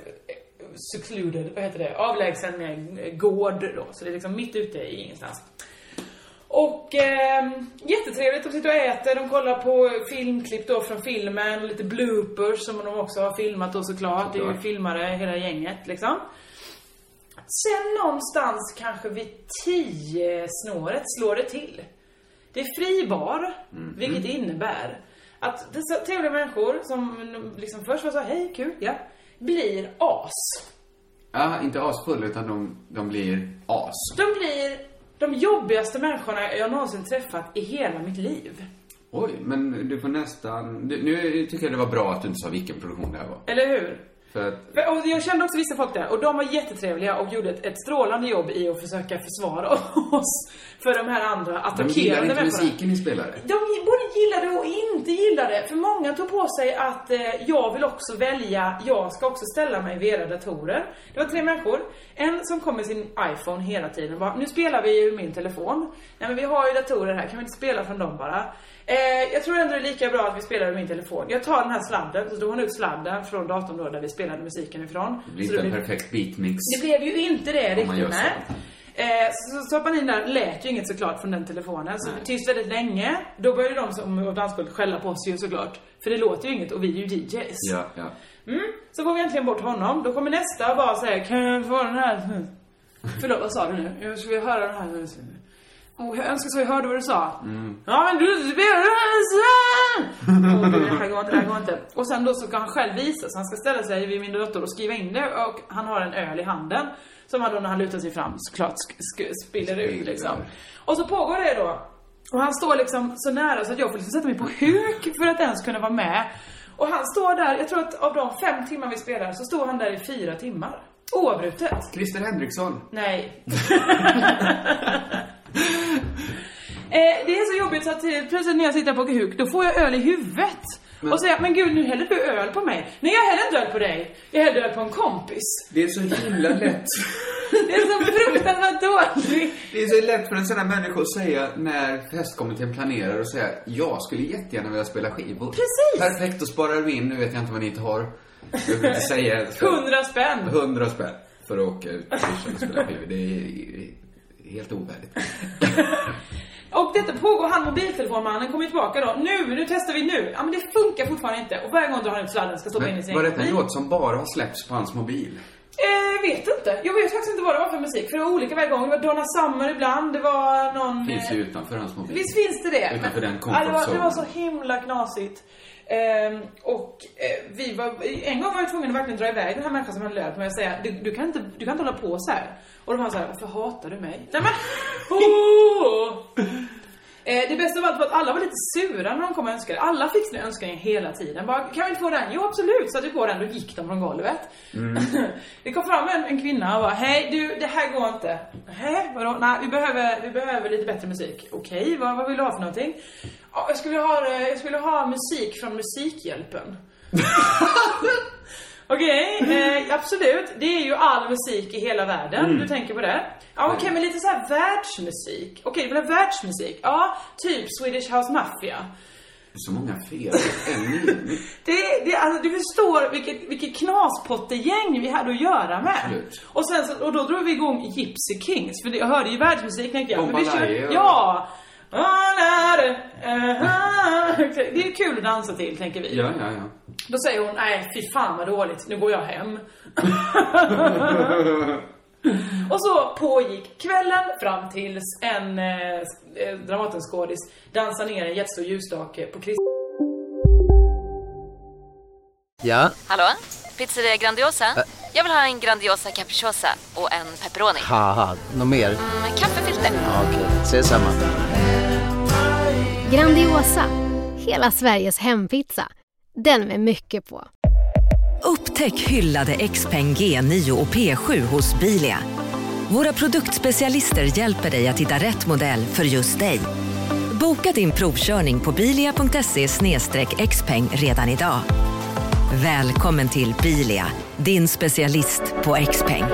Speaker 3: secluded, vad heter det, avlägsen eh, gård då. Så det är liksom mitt ute i ingenstans. Och eh, jättetrevligt, de sitter och äter, de kollar på filmklipp då från filmen, lite bloopers som de också har filmat då såklart. Det är ju
Speaker 2: Såklart.
Speaker 3: filmare hela gänget liksom. Sen någonstans kanske vid 10 snåret slår det till. Det är fri bar, vilket innebär att dessa trevliga människor som liksom först var så här, hej kul, ja, blir as.
Speaker 2: Ja, inte asfull utan de, de blir as.
Speaker 3: De blir de jobbigaste människorna jag någonsin träffat i hela mitt liv.
Speaker 2: Oj, men du får nästan... Du, nu tycker jag det var bra att du inte sa vilken produktion det här var.
Speaker 3: Eller hur?
Speaker 2: För att,
Speaker 3: För- Och jag kände också vissa folk där och de var jättetrevliga och gjorde ett, ett strålande jobb i att försöka försvara (laughs) oss för de här andra
Speaker 2: de gillar
Speaker 3: attackerande
Speaker 2: inte musiken ni spelar.
Speaker 3: De både gillade och inte gillade. För många tog på sig att eh, jag vill också välja, jag ska också ställa mig vid era datorer. Det var tre människor. En som kom med sin iPhone hela tiden och bara, nu spelar vi ju min telefon. Nej men vi har ju datorer här, kan vi inte spela från dem bara? Eh, jag tror ändå det är lika bra att vi spelar ur min telefon. Jag tar den här sladden, så drog hon ut sladden från datorn då där vi spelade musiken ifrån.
Speaker 2: Det blir
Speaker 3: Så
Speaker 2: inte en perfekt beatmix.
Speaker 3: det blev ju inte det
Speaker 2: man
Speaker 3: riktigt,
Speaker 2: gör så.
Speaker 3: nej. Eh, Så så stoppade man in där, lät ju inget såklart från den telefonen. Så tyst väldigt länge. Då började de som var dansgolvet skälla på oss ju såklart. För det låter ju inget och vi är ju DJs.
Speaker 2: Ja, ja.
Speaker 3: Mm. Så får vi äntligen bort honom. Då kommer nästa och bara säger Kan jag få den här? Förlåt, vad sa du nu? Jag skulle vilja höra den här. Oh, jag önskar så jag hörde vad du sa. Ja men du spelar den här sen! Åh, det här går inte, det här går inte. Och sen då så ska han själv visa så han ska ställa sig vid min dator och skriva in det och han har en öl i handen. Som han då när han lutar sig fram såklart sk- sk- spiller ut liksom. Och så pågår det då och han står liksom så nära så att jag får liksom sätta mig på huk för att ens kunna vara med. Och han står där, jag tror att av de fem timmar vi spelar så står han där i fyra timmar. Oavbrutet.
Speaker 2: Christer Henriksson.
Speaker 3: Nej. eh, det är så jobbigt så att eh, plötsligt när jag sitter på huk, då får jag öl i huvudet. Och säger men gud nu häller du öl på mig. Nej jag häller inte öl på dig. Jag häller öl på en kompis.
Speaker 2: Det är så himla (laughs) lätt.
Speaker 3: Det är så fruktansvärt dåligt.
Speaker 2: Det är så lätt för en sån här människa att säga när festkommittén planerar och säga jag skulle jättegärna vilja spela skivor.
Speaker 3: Precis.
Speaker 2: Perfekt, då sparar vi in, nu vet jag inte vad ni inte har. Jag vill inte säga.
Speaker 3: (laughs) Hundra spänn.
Speaker 2: 100 spänn för att åka ut och spela skivor. Det är helt ovärdigt.
Speaker 3: Och detta pågår, han mobiltelefonmannen kommer ju tillbaka då. Nu, nu testar vi nu. Ja men det funkar fortfarande inte. Och varje gång drar han ut sladden och ska stoppa in i sin
Speaker 2: Men var detta en
Speaker 3: bil.
Speaker 2: låt som bara har släppts på hans mobil?
Speaker 3: Eh, vet inte. Jag vet faktiskt inte vad det var för musik. För det var olika varje gång. Det var Donna Summer ibland, det var någon...
Speaker 2: Finns
Speaker 3: eh,
Speaker 2: ju utanför hans mobil.
Speaker 3: Visst finns det det?
Speaker 2: Utanför den comfort
Speaker 3: ja, det, var, det var så
Speaker 2: zone.
Speaker 3: himla knasigt. Ehm, och eh, vi var, en gång var jag tvungen att verkligen dra iväg den här människan som hade löpt mig och säga du, du, kan inte, du kan inte hålla på så här. Och de var så här, varför hatar du mig? Nej
Speaker 2: (laughs)
Speaker 3: men! Oh! Eh, det bästa av allt var att alla var lite sura när de kom och önskade. Alla fick sina önskningar hela tiden. Bara, kan vi inte få den? Jo absolut, satte vi på den, då gick de från golvet. (laughs) det kom fram en, en kvinna och bara, hej du, det här går inte. Hä? vadå? Nej, vi behöver, vi behöver lite bättre musik. Okej, vad, vad vill du ha för någonting? Ja, jag, skulle vilja ha, eh, jag skulle vilja ha musik från Musikhjälpen. (laughs) Okej, eh, absolut. Det är ju all musik i hela världen. Du tänker på det? Ja, okej, men lite så här världsmusik. Okej, du vill ha världsmusik? Ja, typ Swedish House Mafia.
Speaker 2: Det är Så många fel. En ny.
Speaker 3: Det, det, alltså, du förstår vilket, vilket knaspottegäng vi hade att göra med.
Speaker 2: Absolut.
Speaker 3: Och, sen, så- och då drog vi igång Gypsy Kings, för det, jag hörde ju världsmusik tänkte jag. vi
Speaker 2: Bombalaya och-
Speaker 3: ja! Eh, (laughs) Det är kul att dansa till, tänker vi.
Speaker 2: Ja, ja, ja.
Speaker 3: Då säger hon, nej fy fan vad dåligt, nu går jag
Speaker 2: (laughs)
Speaker 3: hem. och så pågick kvällen fram tills en eh, eh, Dramatenskådis dansar ner en jättestor ljusstake på Chris
Speaker 4: Ja,
Speaker 5: Hallå? Pizzeria Grandiosa? Jag vill ha en Grandiosa capriciosa och en pepperoni.
Speaker 4: haha, något mer?
Speaker 5: Med kaffefilter.
Speaker 4: Ja, Okej, ses samma.
Speaker 6: Grandiosa, hela Sveriges hempizza. Den med mycket på.
Speaker 7: Upptäck hyllade XPeng G9 och P7 hos Bilia. Våra produktspecialister hjälper dig att hitta rätt modell för just dig. Boka din provkörning på bilia.se xpeng redan idag. Välkommen till Bilia, din specialist på XPeng.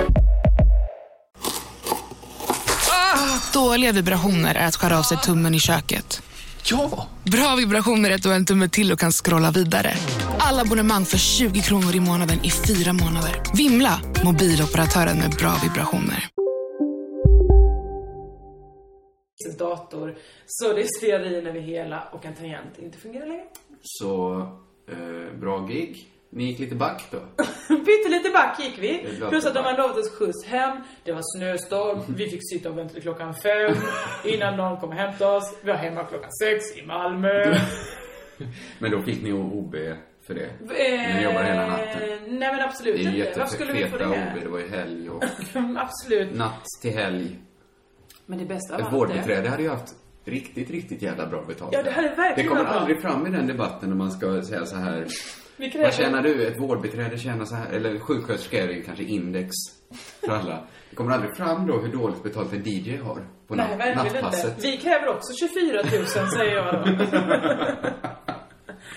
Speaker 8: Dåliga vibrationer är att skära av sig tummen i köket.
Speaker 9: Ja!
Speaker 8: Bra vibrationer är att du har en tumme till och kan scrolla vidare. Alla abonnemang för 20 kronor i månaden i fyra månader. Vimla! Mobiloperatören med bra vibrationer.
Speaker 3: dator. Så det är stearin över hela och en tangent inte fungerar längre. (laughs)
Speaker 2: Så, eh, bra gig. Ni gick lite back då?
Speaker 3: Pyttelite back gick vi.
Speaker 2: Det låter
Speaker 3: Plus att de
Speaker 2: bra.
Speaker 3: hade lovat oss skjuts hem. Det var
Speaker 2: (laughs)
Speaker 3: snöstorm. Vi fick sitta och vänta till klockan fem. Innan någon kom och hämtade oss. Vi var hemma klockan sex
Speaker 2: (laughs)
Speaker 3: i Malmö.
Speaker 2: Men då fick ni OB för det?
Speaker 3: Eh,
Speaker 2: Ni jobbar hela natten?
Speaker 3: Nej men absolut
Speaker 2: Det är ju
Speaker 3: inte. Varför skulle vi få det
Speaker 2: jättefeta OB, det
Speaker 3: här?
Speaker 2: var ju helg
Speaker 3: (laughs)
Speaker 2: och
Speaker 3: absolut.
Speaker 2: natt till helg.
Speaker 3: Men det bästa
Speaker 2: Ett
Speaker 3: var att det...
Speaker 2: vårdbiträde hade ju haft riktigt, riktigt jävla bra betalt.
Speaker 3: Ja, det hade verkligen
Speaker 2: Det kommer
Speaker 3: varit bra.
Speaker 2: aldrig fram i den debatten när man ska säga så här.
Speaker 3: Vi
Speaker 2: Vad tjänar du? Ett vårdbiträde tjänar så här, eller sjuksköterska är det ju kanske index för alla. Det kommer aldrig fram då hur dåligt betalt en DJ har på
Speaker 3: Nej,
Speaker 2: natt,
Speaker 3: verkligen
Speaker 2: nattpasset.
Speaker 3: inte. Vi kräver också 24 000 säger
Speaker 2: (laughs)
Speaker 3: jag då.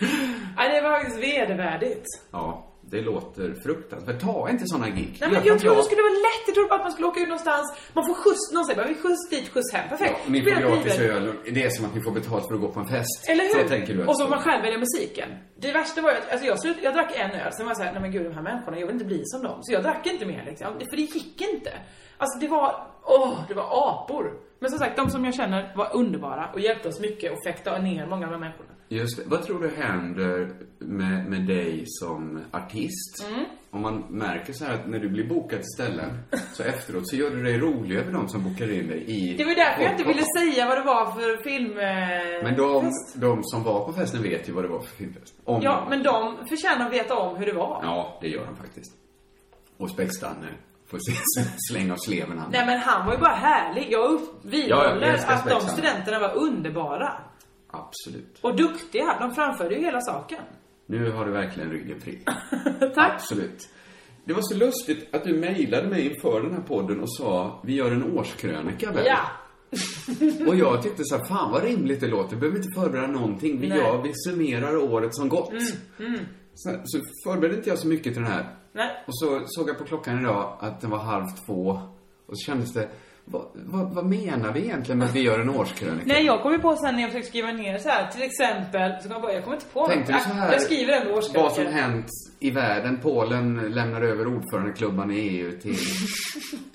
Speaker 3: (laughs) Nej, det var faktiskt vedervärdigt.
Speaker 2: Ja, det låter fruktansvärt. Ta inte sådana gig.
Speaker 3: Nej,
Speaker 2: Gör
Speaker 3: men
Speaker 2: att
Speaker 3: jag trodde det
Speaker 2: jag-
Speaker 3: skulle vara lätt. Jag trodde bara att man skulle åka ut någonstans. Man får skjuts någonstans. Bara, vi skjuts dit, skjuts hem. Perfekt.
Speaker 2: Ja, ni
Speaker 3: Så
Speaker 2: får
Speaker 3: blir det
Speaker 2: gratis
Speaker 3: drivet.
Speaker 2: öl. Det är som att ni får betalt för att gå på en fest.
Speaker 3: Eller hur?
Speaker 2: Så tänker du alltså. att
Speaker 3: och så får man själv välja musiken. Det värsta var ju att alltså jag, slut, jag drack en öl, sen var jag såhär, nej men gud de här människorna, jag vill inte bli som dem. Så jag drack inte mer liksom. För det gick inte. Alltså det var, åh, det var apor. Men som sagt, de som jag känner var underbara och hjälpte oss mycket och fäktade ner många av de här människorna.
Speaker 2: Just det. Vad tror du händer med, med dig som artist?
Speaker 3: Mm.
Speaker 2: Om man märker så här att när du blir bokad till ställen så efteråt så gör du dig rolig över de som bokar in dig i...
Speaker 3: Det var ju därför jag inte
Speaker 2: och-
Speaker 3: ville säga vad det var för film... eh,
Speaker 2: Men de, de som var på festen vet ju vad det var för filmfest. Om
Speaker 3: Ja, men de förtjänar att veta om hur det var.
Speaker 2: Ja, det gör de faktiskt. Och Späckstanne får se (laughs) släng av sleven han.
Speaker 3: Nej men han var ju bara härlig. Jag upp- vidhåller
Speaker 2: jag älskar
Speaker 3: att de
Speaker 2: Spexan.
Speaker 3: studenterna var underbara.
Speaker 2: Absolut.
Speaker 3: Och duktiga. De framförde ju hela saken. (laughs)
Speaker 2: Nu har du verkligen ryggen fri.
Speaker 3: Tack.
Speaker 2: Absolut. Det var så lustigt att du mejlade mig inför den här podden och sa vi gör en årskrönika väl?
Speaker 3: Ja.
Speaker 2: Och jag tyckte så här, fan vad rimligt det låter. Behöver inte förbereda någonting. Vi,
Speaker 3: Nej.
Speaker 2: gör, vi summerar året som gått.
Speaker 3: Mm.
Speaker 2: Så, så förberedde inte jag så mycket till den här.
Speaker 3: Nej.
Speaker 2: Och så såg jag på klockan idag att den var halv två. Och så kändes det, vad, vad, vad menar vi egentligen med att vi gör en årskrönika?
Speaker 3: Nej jag kom ju på sen när jag försökte skriva ner så här. till exempel, så kom jag bara, jag kommer inte på
Speaker 2: Tänkte du
Speaker 3: något.
Speaker 2: så
Speaker 3: Ah,
Speaker 2: här,
Speaker 3: Jag skriver en
Speaker 2: vad som
Speaker 3: årskrönika.
Speaker 2: hänt i världen? Polen lämnar över ordförandeklubban i EU
Speaker 3: (laughs)
Speaker 2: till...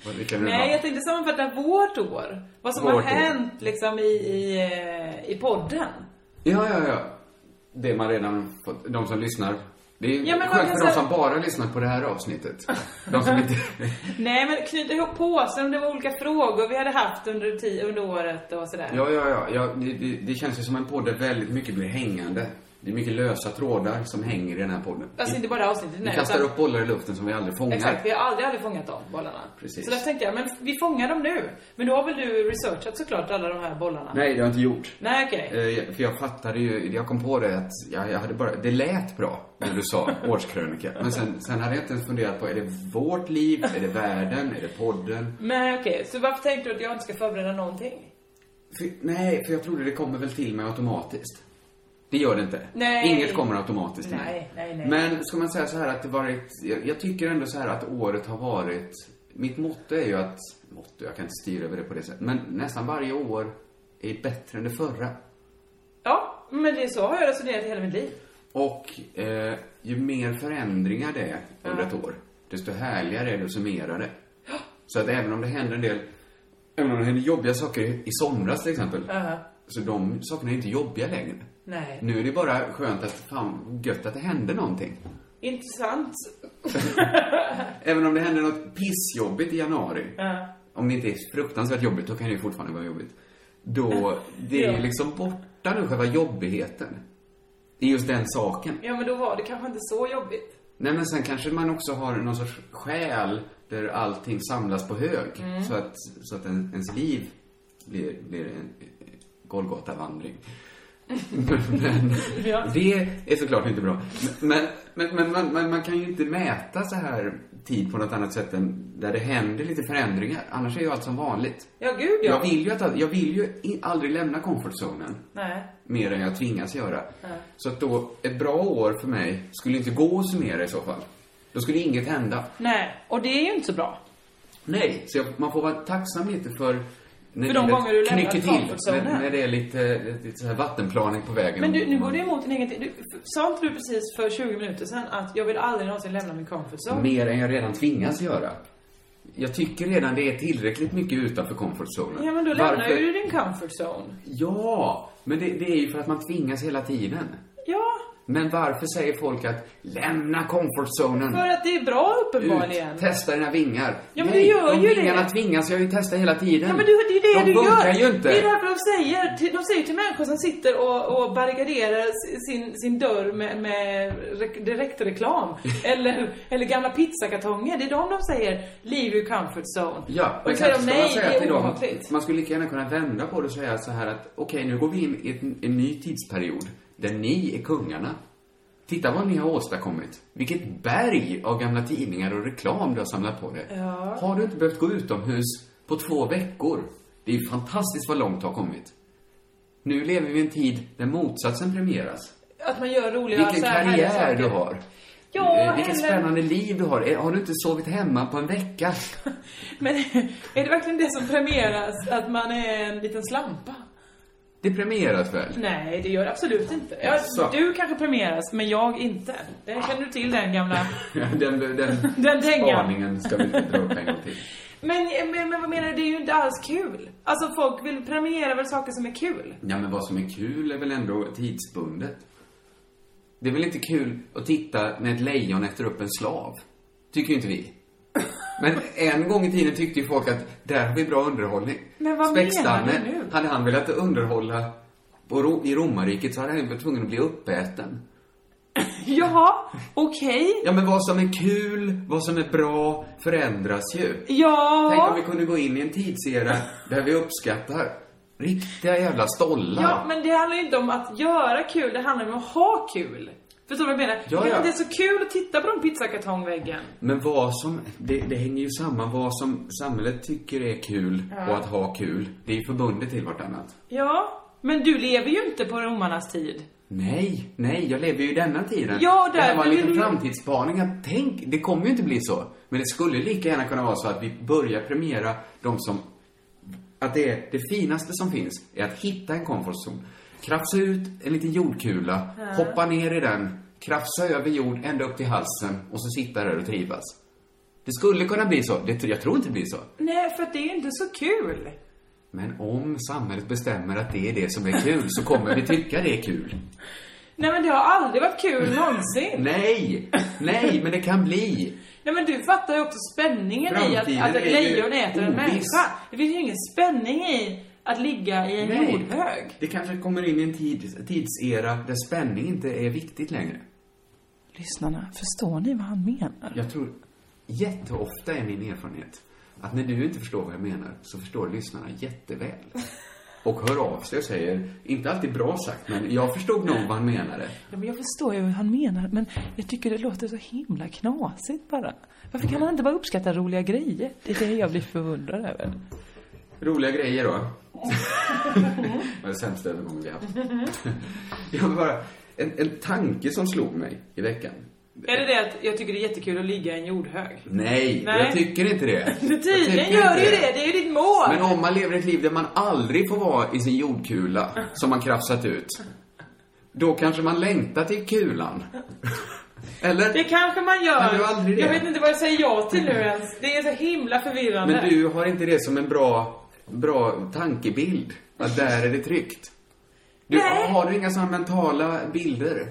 Speaker 2: vad det kan nu
Speaker 3: Nej,
Speaker 2: vara.
Speaker 3: jag tänkte sammanfatta vårt år. Vad som har
Speaker 2: Vårt år.
Speaker 3: hänt liksom i, i, eh, i podden.
Speaker 2: Ja, ja, ja. Det man redan fått, de som lyssnar. Det är
Speaker 3: Ja, men man
Speaker 2: skönt
Speaker 3: kan
Speaker 2: för de
Speaker 3: säga-
Speaker 2: som bara lyssnar på det här avsnittet. De som
Speaker 3: (laughs)
Speaker 2: inte...
Speaker 3: Nej men knyta ihop påsen, det var olika frågor vi hade haft under, ti- under året och sådär.
Speaker 2: Ja, ja, ja. ja det, det, det känns ju som en podd där väldigt mycket blir hängande. Det är mycket lösa trådar som hänger i den här podden.
Speaker 3: Alltså inte bara det här avsnittet,
Speaker 2: Vi
Speaker 3: nej.
Speaker 2: kastar
Speaker 3: utan-
Speaker 2: upp bollar i luften som vi aldrig fångar.
Speaker 3: Exakt, vi har aldrig, aldrig fångat de bollarna.
Speaker 2: Precis.
Speaker 3: Så där tänkte jag, men vi fångar dem nu. Men då har väl du researchat såklart alla de här bollarna?
Speaker 2: Nej, det har jag inte gjort.
Speaker 3: Nej, okej.
Speaker 2: Eh, För jag fattade ju, jag kom på det att jag, jag hade bara, det lät bra när du sa årskrönika. Men sen, sen hade jag inte ens funderat på, är det vårt liv? Är det världen? Är det podden?
Speaker 3: Nej, okej. Så varför tänkte du att jag inte ska förbereda någonting?
Speaker 2: För, nej, för jag trodde det kommer väl till mig automatiskt. Det gör det inte.
Speaker 3: Nej.
Speaker 2: Inget kommer automatiskt till mig.
Speaker 3: Nej, nej, nej.
Speaker 2: Men ska man säga så här att det varit, jag, jag tycker ändå så här att året har varit, mitt motto är ju att, motto, jag kan inte styra över det på det sättet, men nästan varje år är bättre än det förra.
Speaker 3: Ja, men det är så har jag resonerat i hela mitt liv.
Speaker 2: Och eh, ju mer förändringar det är under ett år, desto härligare är det att summera det. Så att även om det händer en del, även om det händer jobbiga saker i i somras till exempel,
Speaker 3: Ja.
Speaker 2: så de sakerna är inte jobbiga längre.
Speaker 3: Nej.
Speaker 2: Nu är det bara skönt att, fan, gött att det hände någonting.
Speaker 3: Intressant.
Speaker 2: Även om det händer något pissjobbigt i januari,
Speaker 3: Ja.
Speaker 2: om det inte är fruktansvärt jobbigt, då kan det ju fortfarande vara jobbigt. Då, det är
Speaker 3: Ja.
Speaker 2: ju liksom borta nu, själva jobbigheten. I just den saken.
Speaker 3: Ja, men då var det kanske inte så jobbigt.
Speaker 2: Nej, men sen kanske man också har någon sorts själ där allting samlas på hög.
Speaker 3: Mm.
Speaker 2: Så att, så att en, ens liv blir, blir en eh,
Speaker 3: (laughs)
Speaker 2: Golgata-vandring. men
Speaker 3: Ja.
Speaker 2: det är såklart inte bra. Men, men, men man, man, man kan ju inte mäta så här tid på något annat sätt än där det händer lite förändringar. Annars är ju allt som vanligt.
Speaker 3: Ja, gud ja.
Speaker 2: Jag vill ju, att, all- jag vill ju i- aldrig lämna comfortzonen
Speaker 3: Nej.
Speaker 2: mer än jag tvingas göra.
Speaker 3: Ja.
Speaker 2: Så att då, ett bra år för mig skulle inte gå att summera i så fall. Då skulle inget hända.
Speaker 3: Nej, och det är ju inte så bra.
Speaker 2: Nej, så jag, man får vara tacksam lite för när
Speaker 3: För de
Speaker 2: livet
Speaker 3: gånger du lämnar
Speaker 2: knycker till.
Speaker 3: comfortzonen.
Speaker 2: När, när det är lite, lite så här vattenplaning på vägen.
Speaker 3: Men du, nu går du emot din egen... Du, sa inte du precis för 20 minuter sedan att jag vill aldrig någonsin lämna min comfort zone?
Speaker 2: Mer än jag redan tvingas göra. Jag tycker redan det är tillräckligt mycket utanför comfortzonen.
Speaker 3: Ja, men då lämnar
Speaker 2: Varför?
Speaker 3: ju du din comfort zone.
Speaker 2: Ja, men det, det är ju för att man tvingas hela tiden.
Speaker 3: Ja,
Speaker 2: Men varför säger folk att lämna comfortzonen?
Speaker 3: för att det är bra uppenbarligen.
Speaker 2: Ut, testa dina vingar.
Speaker 3: Ja, men
Speaker 2: Nej,
Speaker 3: det gör
Speaker 2: de
Speaker 3: ju det.
Speaker 2: vingarna tvingas jag ju testa hela tiden.
Speaker 3: Ja men du, det är det
Speaker 2: de
Speaker 3: du gör.
Speaker 2: funkar ju inte.
Speaker 3: Det är därför de säger, till- de säger till människor som sitter och, och barrikaderar s- sin, sin dörr med, med
Speaker 2: (laughs)
Speaker 3: re- direktreklam eller, eller gamla pizzakartonger. Det är de de säger, leave your comfort zone.
Speaker 2: Ja,
Speaker 3: och
Speaker 2: men
Speaker 3: då säger
Speaker 2: kanske
Speaker 3: de
Speaker 2: ska man
Speaker 3: nej,
Speaker 2: säga
Speaker 3: det
Speaker 2: till
Speaker 3: är
Speaker 2: dem,
Speaker 3: obehagligt.
Speaker 2: man skulle lika gärna kunna vända på det och säga så här att okej, nu går vi in i ett, en ny tidsperiod där ni är kungarna. Titta vad ni har åstadkommit. Vilket berg av gamla tidningar och reklam du har samlat på dig.
Speaker 3: Ja.
Speaker 2: Har du inte behövt gå utomhus på två veckor? Det är ju fantastiskt vad långt du har kommit. Nu lever vi i en tid där motsatsen premieras.
Speaker 3: Att man gör roliga
Speaker 2: Vilken
Speaker 3: så här härliga
Speaker 2: karriär
Speaker 3: saker.
Speaker 2: du har.
Speaker 3: Ja,
Speaker 2: Eh, Vilket
Speaker 3: eller-
Speaker 2: spännande liv du har. Eh, Har du inte sovit hemma på en
Speaker 3: (laughs)
Speaker 2: vecka?
Speaker 3: Men (laughs) är det verkligen det som premieras? Att man är en liten slampa?
Speaker 2: Det premieras väl?
Speaker 3: Nej, det gör det absolut inte. Ja,
Speaker 2: Jaså.
Speaker 3: du kanske premieras, men jag inte. Det känner du till den gamla... (laughs)
Speaker 2: den den,
Speaker 3: Den dängan.
Speaker 2: spaningen ska vi inte dra upp en gång till.
Speaker 3: Men, men, men vad menar du? Det är ju inte alls kul. Alltså folk vill premiera väl saker som är kul?
Speaker 2: Ja, men vad som är kul är väl ändå tidsbundet? Det är väl inte kul att titta när ett lejon äter upp en slav? Tycker ju inte vi. Men en gång i tiden tyckte ju folk att där har vi bra underhållning.
Speaker 3: Men vad
Speaker 2: Speckstamme,
Speaker 3: menar du nu?
Speaker 2: hade han velat underhålla på Ro- i romarriket så hade han ju varit tvungen att bli uppäten.
Speaker 3: Jaha, okej.
Speaker 2: Ja, men vad som är kul, vad som är bra förändras ju.
Speaker 3: Ja.
Speaker 2: Tänk om vi kunde gå in i en tidsera där vi uppskattar riktiga jävla stollar.
Speaker 3: Ja, men det handlar ju inte om att göra kul, det handlar om att ha kul. Förstår du vad jag menar?
Speaker 2: Ja, ja.
Speaker 3: Det är så kul att titta på den pizzakartongväggen.
Speaker 2: Men vad som, det, det hänger ju samman vad som samhället tycker är kul
Speaker 3: Ja.
Speaker 2: och att ha kul. Det är ju förbundet till vartannat.
Speaker 3: Ja, men du lever ju inte på romarnas tid.
Speaker 2: Nej, nej, jag lever ju i denna tiden.
Speaker 3: Ja,
Speaker 2: det här
Speaker 3: därför
Speaker 2: var en liten
Speaker 3: vill du-
Speaker 2: framtidsspaning. Jag tänk, det kommer ju inte bli så. Men det skulle lika gärna kunna vara så att vi börjar premiera de som... Att det, är, det finaste som finns är att hitta en komfortzon. Krafsa ut en liten jordkula, hoppa ner i den, krafsa över jord ända upp till halsen och så sitta där och trivas. Det skulle kunna bli så. Det, jag tror inte det blir så.
Speaker 3: Nej, för att det är inte så kul.
Speaker 2: Men om samhället bestämmer att det är det som är kul så kommer vi tycka det är kul.
Speaker 3: Nej men det har aldrig varit kul någonsin.
Speaker 2: Nej! Nej, men det kan bli.
Speaker 3: Nej men du fattar ju också spänningen i
Speaker 2: Framtiden
Speaker 3: att, att
Speaker 2: är
Speaker 3: ett
Speaker 2: ju
Speaker 3: lejon äter en
Speaker 2: oviss.
Speaker 3: människa. Det finns ju ingen spänning i att ligga i en
Speaker 2: Nej.
Speaker 3: jordhög.
Speaker 2: Det kanske kommer in i en tid, tidsera där spänning inte är viktigt längre.
Speaker 3: Lyssnarna, förstår ni vad han menar?
Speaker 2: Jag tror jätteofta är min erfarenhet att när du inte förstår vad jag menar så förstår lyssnarna jätteväl. Och hör av sig och säger, inte alltid bra sagt, men jag förstod nog vad han menade.
Speaker 3: Ja, men jag förstår ju vad han menar, men jag tycker det låter så himla knasigt bara. Varför kan man inte bara uppskatta roliga grejer? Det är det jag blir förundrad över.
Speaker 2: Roliga grejer då. det var den sämsta övergången vi haft. Jag vill bara, en, en tanke som slog mig i veckan.
Speaker 3: Är det det att jag tycker det är jättekul att ligga i en jordhög?
Speaker 2: Nej,
Speaker 3: Nej.
Speaker 2: jag tycker
Speaker 3: (laughs)
Speaker 2: inte det. Jag
Speaker 3: Tydligen
Speaker 2: tycker inte
Speaker 3: gör du ju det, det är ju ditt mål!
Speaker 2: Men om man lever ett liv där man aldrig får vara i sin jordkula som man krafsat ut. Då kanske man längtar till kulan. Eller?
Speaker 3: Det kanske man gör.
Speaker 2: Men det var aldrig det.
Speaker 3: Jag vet inte vad jag säger ja till nu ens. Det är så himla förvirrande.
Speaker 2: Men du har inte det som en bra, bra tankebild? Att där är det tryggt? Du,
Speaker 3: Nej.
Speaker 2: har du inga sådana mentala bilder?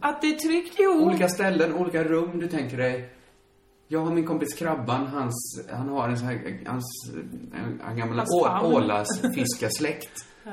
Speaker 3: Att det är tryggt, jo.
Speaker 2: Olika ställen, olika rum du tänker dig. Jag har min kompis Krabban, hans, han har en sån här, hans, en, en gammal
Speaker 3: Hans
Speaker 2: å-
Speaker 3: famn. (laughs)
Speaker 2: ålasfiskarsläkt.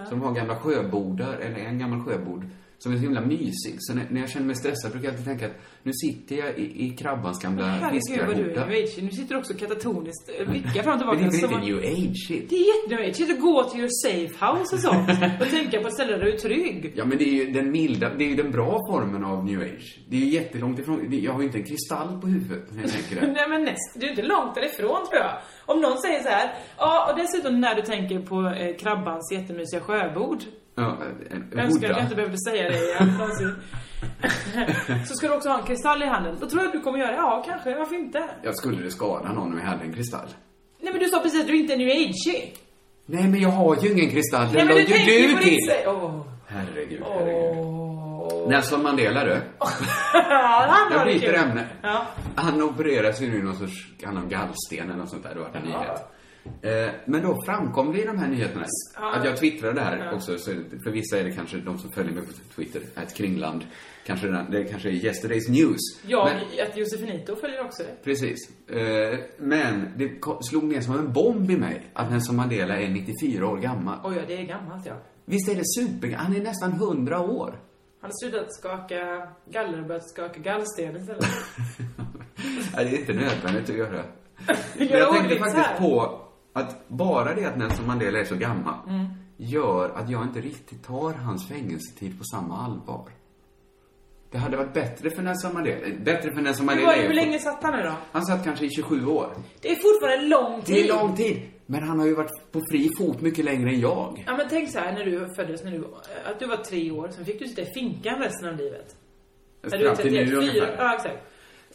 Speaker 2: Som har gamla sjöbordar, eller en gammal sjöbord. Som är så himla mysig. Så när, när jag känner mig stressad brukar jag alltid tänka att nu sitter jag i, i Krabbans gamla
Speaker 3: Herregud vad du är
Speaker 2: fiskarhorda.
Speaker 3: new age. Nu sitter du också katatoniskt eh, vickar fram och
Speaker 2: Men
Speaker 3: tillbaka.
Speaker 2: det är väl
Speaker 3: som
Speaker 2: inte
Speaker 3: att-
Speaker 2: new age shit?
Speaker 3: Det är jätte-new age. Sitta och gå till your safe house och sånt. och tänka på ett ställe där du är trygg.
Speaker 2: Ja men det är ju den milda, det är ju den bra formen av new age. Det är ju jättelångt ifrån, det- jag har ju inte en kristall på huvudet när jag tänker
Speaker 3: (laughs)
Speaker 2: det.
Speaker 3: Nej men näst, du är inte långt därifrån tror jag. Om någon säger så här, ja och dessutom när du tänker på eh, krabbans jättemysiga sjöbord.
Speaker 2: Ja, en, en
Speaker 3: Jag önskar att jag
Speaker 2: hurra.
Speaker 3: inte behövde säga det igen (laughs) någonsin. Så ska du också ha en kristall i handen. Då tror jag att du kommer göra det. Ja, kanske. Varför inte?
Speaker 2: Jag skulle det skada någon om jag hade en kristall.
Speaker 3: Nej men du sa precis att du inte är new age
Speaker 2: Nej, men jag har ju ingen kristall.
Speaker 3: Nej
Speaker 2: Den
Speaker 3: men
Speaker 2: la
Speaker 3: du
Speaker 2: ju
Speaker 3: tänker
Speaker 2: du
Speaker 3: på ditt
Speaker 2: till.
Speaker 3: sätt. Åh. (laughs)
Speaker 2: Herregud, herregud. Nelson Mandela du.
Speaker 3: Ja, han
Speaker 2: Jag
Speaker 3: var det
Speaker 2: byter
Speaker 3: kul.
Speaker 2: ämne.
Speaker 3: Ja.
Speaker 2: Han opereras ju nu i någon sorts, han har gallsten eller något sånt där. Det var en nyhet. Eh, Men då framkom det i de här nyheterna
Speaker 3: Ja.
Speaker 2: att jag twittrade det här
Speaker 3: Ja.
Speaker 2: också. Så för vissa är det kanske de som följer mig på Twitter, ett kringland. Kanske det, det kanske är yesterday's news.
Speaker 3: Jag,
Speaker 2: Men-
Speaker 3: att Josefinito följer också det.
Speaker 2: Precis. Eh, Men det ko- slog ner som en bomb i mig att Nelson Mandela är 94 år gammal.
Speaker 3: Oj, ja, det är gammalt ja.
Speaker 2: Visst är det super... Han är nästan 100 år. (laughs)
Speaker 3: Han har slutat skaka galler och börjat skaka gallsten
Speaker 2: (laughs)
Speaker 3: istället.
Speaker 2: Nej, det är inte nödvändigt att göra. Men
Speaker 3: Gör
Speaker 2: jag tänkte
Speaker 3: ordvits här.
Speaker 2: faktiskt på att bara det att Nelson Mandela är så gammal
Speaker 3: Mm.
Speaker 2: gör att jag inte riktigt tar hans fängelsetid på samma allvar. Det hade varit bättre för Nelson Mandela. eh, Bättre för Nelson
Speaker 3: Hur,
Speaker 2: Mandela.
Speaker 3: var, hur länge satt han nu då?
Speaker 2: Han satt kanske i 27 år.
Speaker 3: Det är fortfarande lång tid.
Speaker 2: Det är lång tid. Men han har ju varit på fri fot mycket längre än jag.
Speaker 3: Ja men tänk så här när du föddes, när du, att du var tre år, sen fick du sitta i finkan resten av livet. När du är
Speaker 2: Fram till nu
Speaker 3: 31, fyra,
Speaker 2: ungefär. Eh,
Speaker 3: ja, exakt.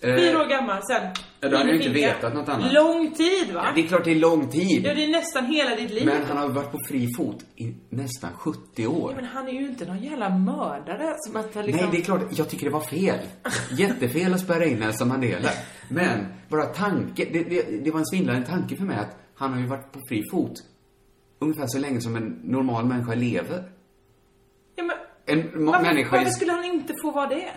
Speaker 3: Fyra år gammal, sen
Speaker 2: Ja, då hade
Speaker 3: in i
Speaker 2: jag inte
Speaker 3: finkan.
Speaker 2: vetat något annat.
Speaker 3: Lång tid va?
Speaker 2: Ja, det är klart det är lång tid.
Speaker 3: Ja, det är nästan hela ditt liv.
Speaker 2: Men han har varit på fri fot i nästan 70 år.
Speaker 3: Men han är ju inte någon jävla mördare som att han liksom...
Speaker 2: Nej, det är klart. Jag tycker det var
Speaker 3: (laughs)
Speaker 2: fel. Jättefel att spärra in Nelson Mandela. Men bara tanke, det, det, det var en svindlande tanke för mig att han har ju varit på fri fot ungefär så länge som en normal människa lever.
Speaker 3: Ja, men,
Speaker 2: En ma-
Speaker 3: varför,
Speaker 2: människa
Speaker 3: varför
Speaker 2: är...
Speaker 3: skulle han inte få vara det?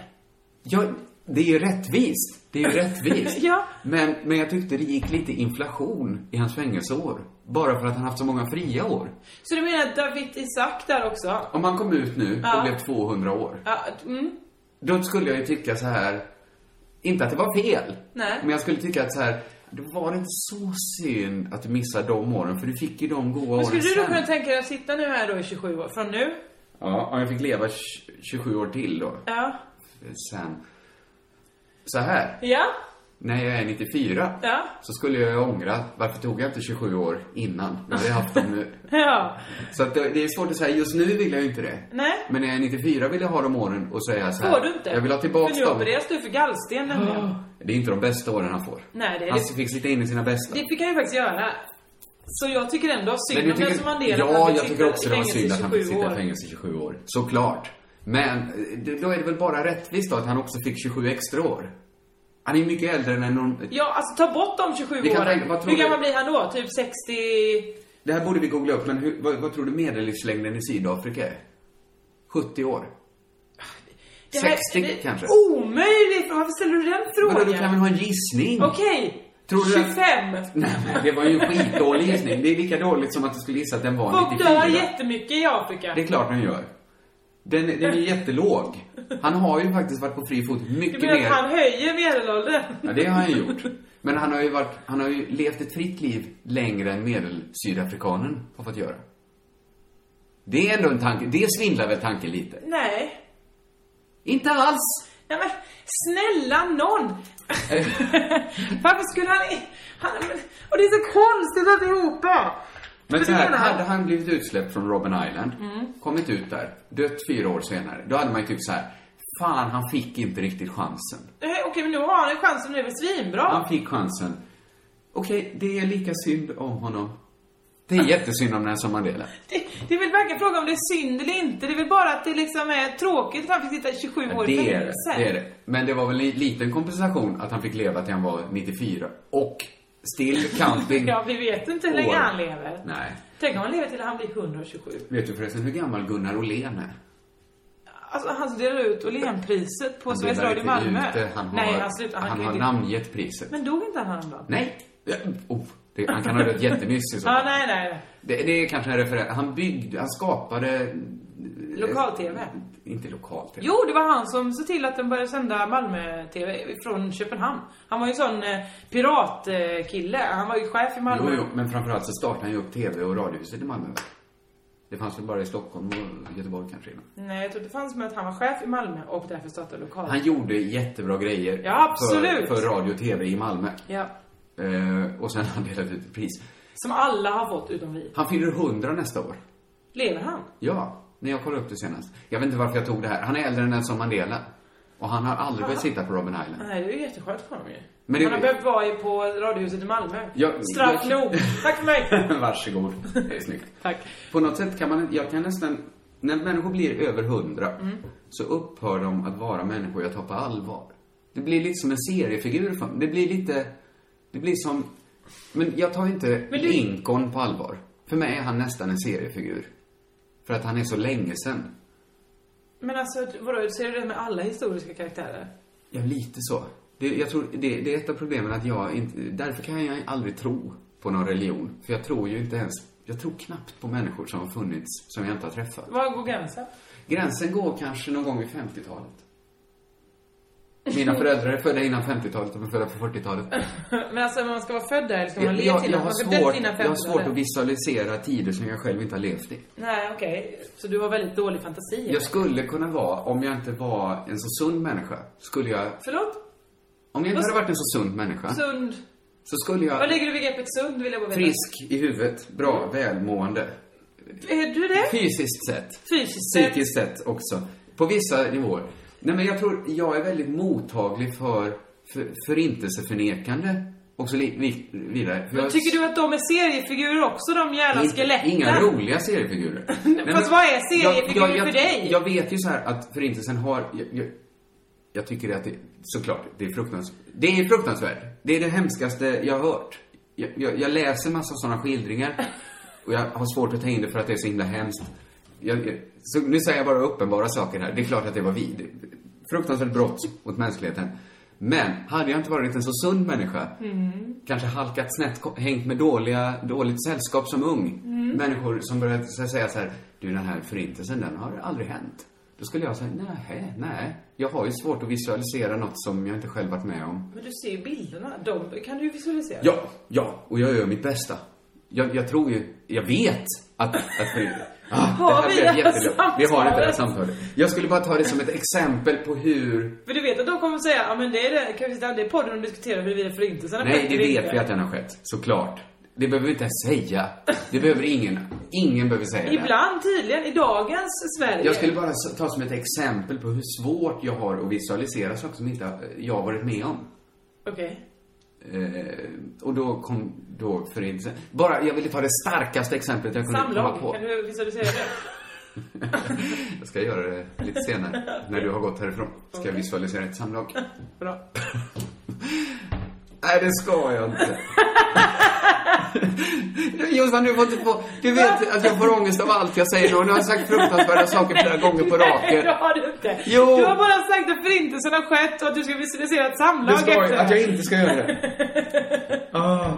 Speaker 2: Ja, det är ju rättvist. Det är ju rättvist.
Speaker 3: (laughs) Ja.
Speaker 2: men, men jag tyckte det gick lite inflation i hans fängelseår. Bara för att han haft så många fria år.
Speaker 3: Så du menar David Isaac där också?
Speaker 2: Om han kom ut nu
Speaker 3: Ja.
Speaker 2: och blev 200 år.
Speaker 3: Ja, mm,
Speaker 2: Då skulle jag ju tycka så här, inte att det var fel.
Speaker 3: Nej.
Speaker 2: Men jag skulle tycka att så här, det var inte så synd att du missade de åren, för du fick ju de goa åren
Speaker 3: men skulle du då
Speaker 2: sen.
Speaker 3: kunna tänka dig att sitta nu här då i 27 år, från nu?
Speaker 2: Ja, om jag fick leva tj- 27 år till då.
Speaker 3: Ja.
Speaker 2: Sen. Så här,
Speaker 3: Ja.
Speaker 2: när jag är 94
Speaker 3: Ja.
Speaker 2: så skulle jag ju ångra, varför tog jag inte 27 år innan? Jag hade haft dem
Speaker 3: (laughs)
Speaker 2: nu.
Speaker 3: Ja.
Speaker 2: Så att det, det är svårt att säga, just nu vill jag ju inte det.
Speaker 3: Nej.
Speaker 2: Men när jag är 94 vill jag ha de åren och säga så här.
Speaker 3: Får du inte?
Speaker 2: Jag vill ha tillbaks
Speaker 3: För nu
Speaker 2: dem.
Speaker 3: opereras du för gallsten nämligen.
Speaker 2: Det är inte de bästa åren han får.
Speaker 3: Nej, det är
Speaker 2: han
Speaker 3: det-
Speaker 2: fick sitta in i sina bästa.
Speaker 3: Det fick han ju faktiskt göra. Så jag tycker ändå synd
Speaker 2: Men du
Speaker 3: om Nelson Mandela att han
Speaker 2: ja,
Speaker 3: fick
Speaker 2: jag
Speaker 3: sitta
Speaker 2: tycker också det var
Speaker 3: i fängelse i
Speaker 2: synd att han fick
Speaker 3: 27
Speaker 2: sitta
Speaker 3: år.
Speaker 2: i fängelse i 27 år. Såklart. Men eh, det- då är det väl bara rättvist då att han också fick 27 extra år. Han är mycket äldre än en norm...
Speaker 3: Ja, alltså ta bort de 27
Speaker 2: Vi kan
Speaker 3: åren.
Speaker 2: tänka- vad tror
Speaker 3: Hur
Speaker 2: du?
Speaker 3: gammal blir han då? Typ 60...
Speaker 2: Det här borde vi googla upp, men hur, vad, vad tror du medellivslängden i Sydafrika är? 70 år?
Speaker 3: Det här-
Speaker 2: 60
Speaker 3: det-
Speaker 2: kanske?
Speaker 3: Omöjligt! Varför ställer du den
Speaker 2: Vadå,
Speaker 3: frågan?
Speaker 2: du kan väl ha en gissning?
Speaker 3: Okej.
Speaker 2: Mm. Tror du att-
Speaker 3: 25.
Speaker 2: Nej, men det var ju en skitdålig gissning. Det är lika dåligt som att du skulle gissa att den var
Speaker 3: Folk
Speaker 2: 94.
Speaker 3: dör jättemycket i Afrika.
Speaker 2: Det är klart den gör. Den, den är jättelåg. Han har ju faktiskt varit på fri fot
Speaker 3: Du
Speaker 2: mycket
Speaker 3: menar att
Speaker 2: mer.
Speaker 3: han höjer medelåldern?
Speaker 2: Ja, det har han ju gjort. Men han har ju varit, han har ju levt ett fritt liv längre än medelsydafrikanen har fått göra. Det är ändå en tanke, det svindlar väl tanken lite?
Speaker 3: Nej.
Speaker 2: Inte alls!
Speaker 3: Nej men
Speaker 2: (laughs)
Speaker 3: snälla nån! Varför skulle han, i- han... men- Och det är så konstigt alltihopa!
Speaker 2: Men
Speaker 3: För
Speaker 2: så
Speaker 3: det
Speaker 2: här,
Speaker 3: menar-
Speaker 2: hade han blivit utsläppt från Robben Island, kommit ut där, dött fyra år senare, då hade man ju tyckt så här, fan han fick inte riktigt chansen.
Speaker 3: Nej, Okej men nu har han en chans och nu är väl svinbra?
Speaker 2: Han fick chansen. Okej, det är lika synd om honom. Det är jättesynd om Nelson
Speaker 3: (laughs)
Speaker 2: Mandela.
Speaker 3: Det, det är väl verkligen fråga om det är synd eller inte. Det är väl bara att det liksom är tråkigt att han fick sitta i 27
Speaker 2: Ja,
Speaker 3: år i
Speaker 2: det är det.
Speaker 3: fängelse.
Speaker 2: det är det. Men det var väl en liten kompensation att han fick leva till han var 94. Och
Speaker 3: (laughs)
Speaker 2: still counting.
Speaker 3: Ja, vi vet inte hur länge
Speaker 2: år.
Speaker 3: han lever.
Speaker 2: Nej.
Speaker 3: Tänk om han lever till han blir 127.
Speaker 2: Vet du förresten hur gammal Gunnar Åhlén är?
Speaker 3: Alltså han delar ut Åhlénpriset på
Speaker 2: Han
Speaker 3: Sveriges
Speaker 2: delar
Speaker 3: Radio
Speaker 2: inte
Speaker 3: Malmö.
Speaker 2: ut det. Han har,
Speaker 3: Nej, alltså, han slutar. Han,
Speaker 2: han
Speaker 3: kan
Speaker 2: har
Speaker 3: ju-
Speaker 2: namngett priset.
Speaker 3: Men dog inte han häromdagen?
Speaker 2: Nej. Ja, Oh, det, han kan ha dött jättenyss i så
Speaker 3: Ja,
Speaker 2: fall.
Speaker 3: nej, nej.
Speaker 2: det, det är kanske en referens. Han byggde, han skapade... eh,
Speaker 3: Lokal-TV.
Speaker 2: Inte lokal-tv.
Speaker 3: Jo, det var han som såg till att den började sända Malmö-TV från Köpenhamn. Han var ju en sån eh, piratkille. Han var ju chef i
Speaker 2: Jo,
Speaker 3: Malmö.
Speaker 2: jo, men framförallt så startade han ju upp TV och radiohuset i Malmö. va? Det fanns väl bara i Stockholm och Göteborg kanske innan.
Speaker 3: Nej, jag tror det fanns med att han var chef i Malmö och därför startade lokal.
Speaker 2: Han gjorde jättebra grejer.
Speaker 3: Ja, absolut.
Speaker 2: För, för radio och TV i Malmö.
Speaker 3: Ja.
Speaker 2: Eh, och sen har han delat ut ett pris.
Speaker 3: Som alla har fått utom vi.
Speaker 2: Han fyller 100 nästa år.
Speaker 3: Lever han?
Speaker 2: Ja, när jag kollade upp det senast. Jag vet inte varför jag tog det här. Han är äldre än Nelson Mandela. Och han har aldrig behövt sitta på Robben Island.
Speaker 3: Nej, det är ju jätteskönt för honom ju.
Speaker 2: Men det-
Speaker 3: Han har behövt vara i- på Radiohuset i Malmö.
Speaker 2: Jag-
Speaker 3: Straff
Speaker 2: jag-
Speaker 3: nog. Tack
Speaker 2: (laughs)
Speaker 3: för mig.
Speaker 2: Varsågod. Det är snyggt.
Speaker 3: Tack.
Speaker 2: På något sätt kan man, jag kan nästan, när människor blir över hundra
Speaker 3: Mm.
Speaker 2: så upphör de att vara människor jag tar på allvar. Det blir lite som en seriefigur för mig. Det blir lite, det blir som, men jag tar inte
Speaker 3: Men du-
Speaker 2: Lincoln på allvar. För mig är han nästan en seriefigur. För att han är så länge sedan.
Speaker 3: Men alltså, vadå, ser du det med alla historiska karaktärer?
Speaker 2: Ja, lite så. Det, jag tror, det, det är ett av problemen att jag inte, därför kan jag aldrig tro på någon religion. För jag tror ju inte ens, jag tror knappt på människor som har funnits, som jag inte har träffat.
Speaker 3: Var går gränsen? (laughs)
Speaker 2: Gränsen går kanske någon gång vid 50-talet. Mina föräldrar är födda innan 50-talet, de är födda på 40-talet.
Speaker 3: Men alltså, man ska vara född där eller ska man
Speaker 2: Jag,
Speaker 3: ha
Speaker 2: jag,
Speaker 3: levt
Speaker 2: jag,
Speaker 3: innan?
Speaker 2: har
Speaker 3: Man ska ha dött
Speaker 2: svårt,
Speaker 3: innan
Speaker 2: jag har svårt
Speaker 3: 50-talet.
Speaker 2: att visualisera tider som jag själv inte har levt i.
Speaker 3: Nej, okej. Så du har väldigt dålig fantasi? eller?
Speaker 2: Jag skulle kunna vara, om jag inte var en så sund människa, skulle jag...
Speaker 3: Förlåt?
Speaker 2: Om jag inte
Speaker 3: Vad-
Speaker 2: hade varit en så sund människa,
Speaker 3: Sund?
Speaker 2: så skulle
Speaker 3: Vad
Speaker 2: jag...
Speaker 3: lägger du i begreppet sund, vill jag bara veta?
Speaker 2: Frisk i huvudet, bra, välmående.
Speaker 3: Är du det?
Speaker 2: Fysiskt sett.
Speaker 3: Fysiskt sett.
Speaker 2: Psykiskt sett också. På vissa nivåer. Nej, men jag tror, jag är väldigt mottaglig för, för förintelseförnekande och så li, vi- vidare. För jag-
Speaker 3: Tycker du att de är seriefigurer också, de jävla
Speaker 2: Inte-
Speaker 3: skeletten?
Speaker 2: Inga roliga
Speaker 3: (laughs)
Speaker 2: seriefigurer. Nej, men-
Speaker 3: Fast vad är seriefigurer
Speaker 2: jag,
Speaker 3: för dig?
Speaker 2: Jag vet ju så här att Förintelsen har... Jag, jag, jag tycker att det, såklart, det är fruktansvärt. Det är fruktansvärt. Det är det hemskaste jag har hört. Jag, jag, jag läser massa sådana skildringar och jag har svårt att ta in det för att det är så himla hemskt. Jag, jag, så nu säger jag bara uppenbara saker här. Det är klart att det var vi. Det- Fruktansvärt brott mot mänskligheten. Men hade jag inte varit en så sund människa
Speaker 3: Mm.
Speaker 2: kanske halkat snett, ko- hängt med dåliga, dåligt sällskap som ung.
Speaker 3: Mm.
Speaker 2: Människor som började så här säga så här, du den här förintelsen, den har aldrig hänt. Då skulle jag säga, nej, nej. Jag har ju svårt att visualisera något som jag inte själv varit med om.
Speaker 3: Men du ser ju bilderna, de kan du ju visualisera.
Speaker 2: Ja, ja, och jag gör mitt bästa. Jag, jag tror ju, jag vet att, att vi... Ah,
Speaker 3: Har vi det här
Speaker 2: jättelugnt. Vi har inte det här
Speaker 3: samtalet?
Speaker 2: samtalet. Jag skulle bara ta det som ett exempel på hur
Speaker 3: För du vet att de kommer säga, ja men det är det, kan vi sitta- det är podden de diskuterar huruvida förintelsen har
Speaker 2: Nej,
Speaker 3: skett
Speaker 2: det
Speaker 3: eller
Speaker 2: vet
Speaker 3: inte.
Speaker 2: vi att den har skett. Såklart. Det behöver vi inte ens säga. Det behöver ingen. Ingen behöver säga det.
Speaker 3: Ibland tydligen, i dagens Sverige.
Speaker 2: Jag skulle bara s- ta som ett exempel på hur svårt jag har att visualisera saker som inte eh, jag har varit med om.
Speaker 3: Okej.
Speaker 2: Eh, och då kom då förintelsen. Bara, jag ville ta det starkaste exemplet jag kunde komma
Speaker 3: Samlag,
Speaker 2: på.
Speaker 3: kan du visualisera det?
Speaker 2: (laughs) Jag ska göra det lite senare, när du har gått härifrån. Ska jag visualisera ett samlag? (laughs)
Speaker 3: Bra.
Speaker 2: Nej, det ska jag inte. (laughs) Jossan, du får inte få... Du vet att jag får ångest av allt jag säger nu. Nu har jag sagt fruktansvärda saker flera gånger på
Speaker 3: Nej, det
Speaker 2: raken.
Speaker 3: har du inte.
Speaker 2: Jo.
Speaker 3: Du har bara sagt att förintelsen har skett och att du ska visualisera ett
Speaker 2: Det
Speaker 3: samlag
Speaker 2: ska jag,
Speaker 3: efter.
Speaker 2: att jag inte ska göra
Speaker 3: (laughs)
Speaker 2: det. Ah.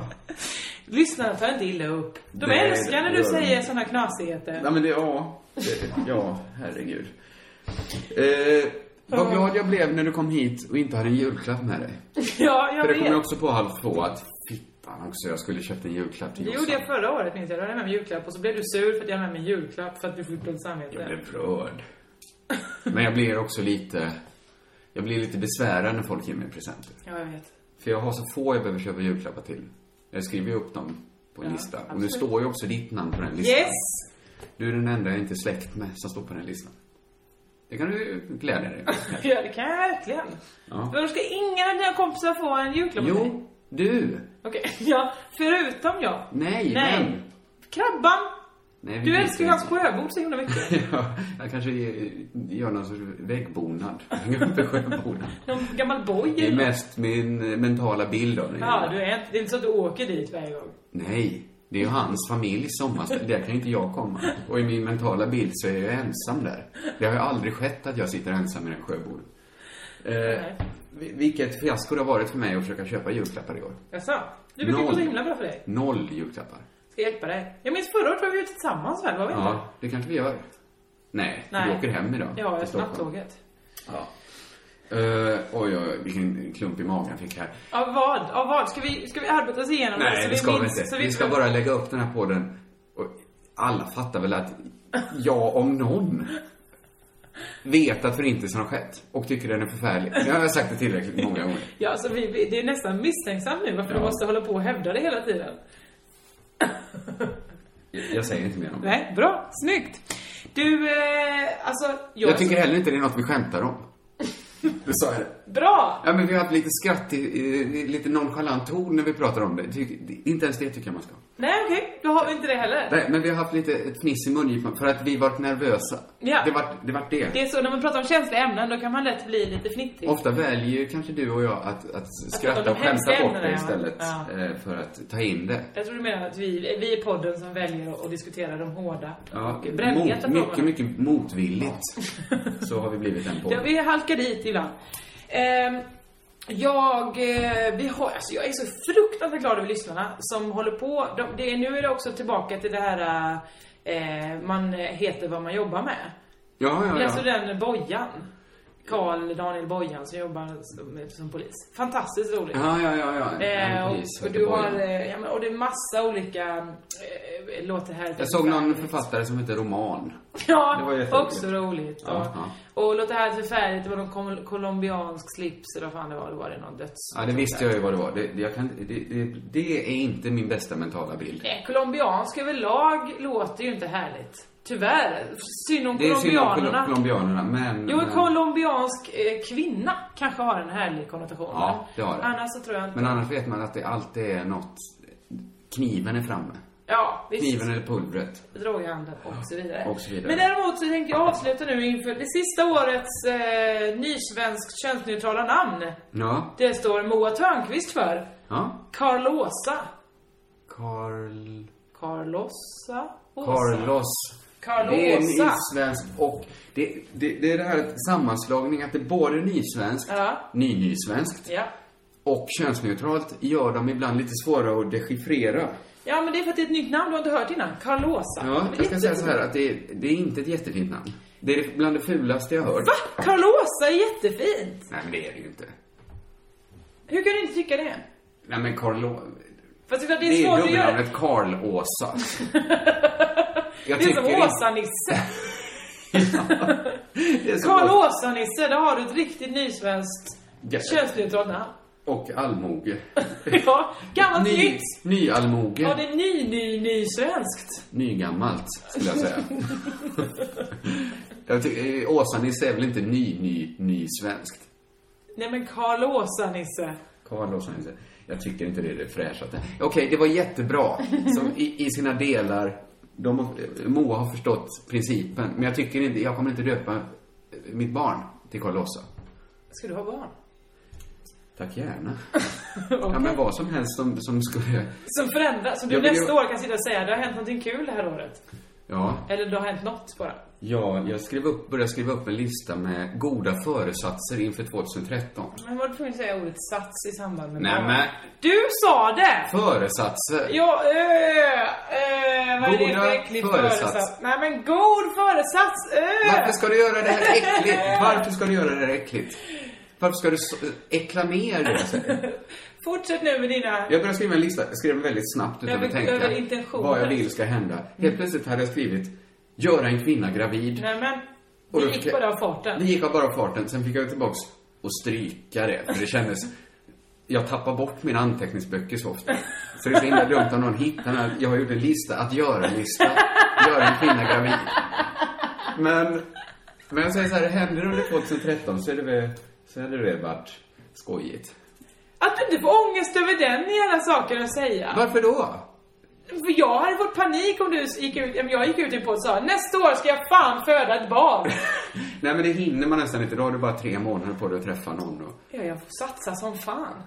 Speaker 3: Lyssnarna tar inte illa upp. De
Speaker 2: Nej,
Speaker 3: älskar
Speaker 2: det
Speaker 3: när
Speaker 2: gör
Speaker 3: du
Speaker 2: de.
Speaker 3: säger sådana knasigheter.
Speaker 2: Nej, men det... Ja. Det- Ja, herregud. Eh, vad glad jag blev när du kom hit och inte hade en julklapp med dig.
Speaker 3: (laughs) Ja,
Speaker 2: För
Speaker 3: jag
Speaker 2: det kom jag
Speaker 3: vet.
Speaker 2: också på halv två att fittan också, jag skulle köpt en julklapp till
Speaker 3: Det
Speaker 2: Jossan.
Speaker 3: gjorde jag förra året minns jag. Då hade jag med mig julklapp och så blev du sur för att jag hade med mig julklapp för att du fick dåligt samvete.
Speaker 2: Jag blev rörd. Men jag blir också lite... Jag blir lite besvärad när folk ger mig presenter.
Speaker 3: Ja, jag vet.
Speaker 2: För jag har så få jag behöver köpa julklappar till. Jag skriver ju upp dem på en
Speaker 3: Ja,
Speaker 2: lista. Och nu
Speaker 3: absolut.
Speaker 2: står ju också ditt namn på den listan.
Speaker 3: Yes!
Speaker 2: Du är den enda jag inte är släkt med som står på den listan. Det kan du glädja dig åt.
Speaker 3: Ja, det kan jag verkligen.
Speaker 2: Ja.
Speaker 3: Men då ska ingen av dina kompisar få en julklapp av mig?
Speaker 2: Jo, du!
Speaker 3: Okej, (laughs) ja. Förutom jag.
Speaker 2: Nej,
Speaker 3: Nej.
Speaker 2: men!
Speaker 3: Krabban!
Speaker 2: Nej, vi
Speaker 3: Du
Speaker 2: vet
Speaker 3: älskar ju
Speaker 2: inte.
Speaker 3: hans sjöbord så
Speaker 2: (laughs)
Speaker 3: himla mycket.
Speaker 2: Ja, jag kanske ge- gör någon sorts väggbonad. (laughs) Hänga upp en sjöbonad.
Speaker 3: Någon gammal boj
Speaker 2: Det är
Speaker 3: eller något.
Speaker 2: mest min eh, mentala bild av det.
Speaker 3: Ja, du är inte, det är inte så att du åker dit varje gång.
Speaker 2: Nej, det är ju hans familjs sommarställe. Där kan ju inte jag komma. Och i min mentala bild så är jag ju ensam där. Det har ju aldrig skett att jag sitter ensam i den sjöborden. Eh,
Speaker 3: Nej.
Speaker 2: vi- vilket fiasko det har varit för mig att försöka köpa julklappar i år.
Speaker 3: Jaså? Du brukar gå
Speaker 2: Noll.
Speaker 3: så himla bra för dig.
Speaker 2: Noll julklappar.
Speaker 3: Ska jag hjälpa dig. Jag minns förra året var vi ute tillsammans väl? Var vi inte?
Speaker 2: Ja, det kanske vi gör. Nej, vi
Speaker 3: Nej.
Speaker 2: åker hem idag.
Speaker 3: Ja,
Speaker 2: till
Speaker 3: jag
Speaker 2: Stockholm.
Speaker 3: nattåget.
Speaker 2: Ja. Eh, oj, oj, oj, vilken klump i magen jag fick här.
Speaker 3: Av vad? Av vad? Ska vi, ska vi arbeta oss igenom
Speaker 2: Nej, det ska vi inte.
Speaker 3: så
Speaker 2: vi, ska bara lägga upp den här podden. Och alla fattar väl att jag om någon vet att förintelsen har skett och tycker den är förfärlig. Nu har jag sagt det tillräckligt många gånger.
Speaker 3: Ja, så vi, vi, det är nästan misstänksamt nu varför
Speaker 2: Ja.
Speaker 3: du måste hålla på och hävda det hela tiden.
Speaker 2: Jag säger inte mer om det.
Speaker 3: Nej, bra. Snyggt. Du, eh, alltså... Jag,
Speaker 2: Jag tycker heller inte det är något vi skämtar om. Det sa jag det.
Speaker 3: Bra!
Speaker 2: Ja, men vi har haft lite skratt, i, i, lite nonchalant ton när vi pratar om det. Tyck, inte ens det tycker jag man ska ha.
Speaker 3: Nej, okej. Då har vi inte det heller.
Speaker 2: Nej, men vi har haft lite ett fniss i mungipan för att vi varit nervösa.
Speaker 3: Ja.
Speaker 2: Det vart det. Var det.
Speaker 3: Det är så, när man pratar om känsliga ämnen, då kan man lätt bli lite fnittrig.
Speaker 2: Ofta väljer ju kanske du och jag att, att
Speaker 3: prata
Speaker 2: skratta
Speaker 3: om
Speaker 2: och skämta
Speaker 3: hemska
Speaker 2: bort
Speaker 3: ämnen,
Speaker 2: det
Speaker 3: ja.
Speaker 2: istället
Speaker 3: Ja.
Speaker 2: eh, för att ta in det.
Speaker 3: Jag tror du menar att vi, vi är podden som väljer att- att diskutera de hårda
Speaker 2: Ja,
Speaker 3: och brännheta
Speaker 2: mot, mycket,
Speaker 3: frågorna.
Speaker 2: mycket motvilligt
Speaker 3: (laughs)
Speaker 2: så har vi blivit en
Speaker 3: Ja,
Speaker 2: podd.
Speaker 3: vi halkar dit ibland. Ehm, jag, eh, vi har, alltså jag är så fruktansvärt glad över lyssnarna som håller på. De, det, nu är det också tillbaka till det här eh, man heter vad man jobbar med.
Speaker 2: Ja, ja,
Speaker 3: Läser du
Speaker 2: ja.
Speaker 3: den bojan? Karl Daniel Bojan som jobbar som, som polis. Fantastiskt roligt.
Speaker 2: Ja, ja, ja, ja. En
Speaker 3: Eh,
Speaker 2: polis
Speaker 3: och, och
Speaker 2: heter
Speaker 3: du
Speaker 2: Bojan.
Speaker 3: har, eh, ja, men, och det är massa olika eh, låtar här.
Speaker 2: Jag såg någon författare som hette Roman. Det var
Speaker 3: (laughs) Ja,
Speaker 2: jätteroligt.
Speaker 3: också roligt. Och,
Speaker 2: Ja,
Speaker 3: och låt det här förfärligt, det var någon kol- colombiansk slips eller vad fan det var. Det var det någon döds...
Speaker 2: Ja, det visste jag ju vad det var. Det, det, jag kan, det, det, det är inte min bästa mentala bild.
Speaker 3: Nej, colombiansk Eh, överlag låter ju inte härligt. Tyvärr. Synd om
Speaker 2: Det är synd om kol-
Speaker 3: colombianerna.
Speaker 2: colombianerna, men...
Speaker 3: Jo, en
Speaker 2: men-
Speaker 3: colombiansk eh, kvinna kanske har en härlig konnotation.
Speaker 2: Ja, det har det.
Speaker 3: Annars så tror jag inte...
Speaker 2: Men annars vet man att det alltid är något... Kniven är framme.
Speaker 3: Ja, visst.
Speaker 2: Kniven eller pulvret.
Speaker 3: droghandel och så vidare.
Speaker 2: Och så vidare.
Speaker 3: Men däremot så tänkte jag avsluta nu inför det sista årets eh, nysvenskt könsneutrala namn.
Speaker 2: Ja.
Speaker 3: Det står Moa Törnqvist för.
Speaker 2: Ja.
Speaker 3: Carlosa.
Speaker 2: Karl...
Speaker 3: Carlosa? Åsa.
Speaker 2: Carlos.
Speaker 3: Carlosa.
Speaker 2: Det är nysvenskt och det, det, det är det här sammanslagningen att det är både nysvenskt,
Speaker 3: Ja.
Speaker 2: nynysvenskt
Speaker 3: Ja.
Speaker 2: och könsneutralt gör dem ibland lite svårare att dechiffrera.
Speaker 3: ja, men det är för att det är ett nytt namn du har inte hört innan. Carlosa.
Speaker 2: Ja,
Speaker 3: Men
Speaker 2: jag ska säga
Speaker 3: jättefint.
Speaker 2: så här att det är, det är inte ett jättefint namn. Det är bland det fulaste jag hört.
Speaker 3: Va? Carlosa är jättefint.
Speaker 2: Nej, men det är det ju inte.
Speaker 3: Hur kan du inte tycka det?
Speaker 2: Nej, men Carlo...
Speaker 3: Fast det är,
Speaker 2: Det är
Speaker 3: svårt att göra.
Speaker 2: dubbelnamnet
Speaker 3: (laughs)
Speaker 2: Karl-Åsa. Jag
Speaker 3: det är
Speaker 2: tycker
Speaker 3: som
Speaker 2: inte-
Speaker 3: Åsa-Nisse.
Speaker 2: (laughs) Det är så gott.
Speaker 3: Karl-Åsa-Nisse, där har du ett riktigt nysvenskt
Speaker 2: Ja. (laughs)
Speaker 3: könsneutralt namn.
Speaker 2: Och allmoge.
Speaker 3: Ja, (laughs) gammalt
Speaker 2: Ny,
Speaker 3: nytt.
Speaker 2: nyallmoge.
Speaker 3: Ja, det är ny, ny, ny svenskt.
Speaker 2: Nygammalt, skulle jag säga. jag tycker, eh, Åsa-Nisse är väl inte ny, ny, ny svenskt?
Speaker 3: Nej men Karl Åsa Nisse.
Speaker 2: Karl Åsa-Nisse. Jag tycker inte det är det fräschaste. Okej, det var jättebra. Som i, i sina delar. De, har- Moa har förstått principen. Men jag tycker inte, jag kommer inte döpa eh, mitt barn till Karl Åsa.
Speaker 3: Ska du ha barn? (laughs)
Speaker 2: Tack gärna. Ja, men vad som helst som, som skulle...
Speaker 3: Som förändras. Så du
Speaker 2: Jag vill ju-
Speaker 3: nästa år kan sitta och säga det har hänt någonting kul det här året.
Speaker 2: Ja,
Speaker 3: Eller det har hänt något bara.
Speaker 2: ja jag skrev upp, började skriva upp en lista med goda föresatser inför 2013.
Speaker 3: Men var du tvungen att säga ordet sats i samband med
Speaker 2: Nej,
Speaker 3: barn?
Speaker 2: men
Speaker 3: Du sa det!
Speaker 2: föresatser!
Speaker 3: Ja, öh, öh, vad är det
Speaker 2: Goda
Speaker 3: för äcklig
Speaker 2: föresats.
Speaker 3: föresats? Nej men god föresats, öh!
Speaker 2: Varför ska du göra det här äckligt? Varför ska du göra det här äckligt? Varför ska du så, äckla mer det? jag säger?
Speaker 3: Fortsätt nu med dina...
Speaker 2: Jag började skriva en lista. Jag skrev väldigt snabbt utan
Speaker 3: Över-
Speaker 2: att tänka
Speaker 3: över intentioner.
Speaker 2: vad jag vill ska hända. Helt plötsligt hade jag skrivit göra en kvinna gravid.
Speaker 3: Nej men,
Speaker 2: Och då
Speaker 3: det
Speaker 2: fick
Speaker 3: gick
Speaker 2: jag-
Speaker 3: bara av farten.
Speaker 2: Det gick av bara farten. Sen fick jag tillbaks och stryka det. För det kändes... Jag tappar bort mina anteckningsböcker så ofta. Så det är så himla dumt om någon hittar den här. Jag har gjort en lista. Att göra-lista. Göra en kvinna gravid. Men... Men jag säger så här, händer det under 2013 så är det väl... Så hade det väl varit skojigt.
Speaker 3: (laughs) Att du inte får ångest över den i alla saker att säga.
Speaker 2: Varför då?
Speaker 3: För jag hade fått panik om du gick ut, om jag gick ut i en podd och sa nästa år ska jag fan föda
Speaker 2: (laughs)
Speaker 3: ett barn.
Speaker 2: Nej men det hinner man nästan inte. Då har du bara tre månader på dig att träffa någon och...
Speaker 3: ja, jag får satsa som fan.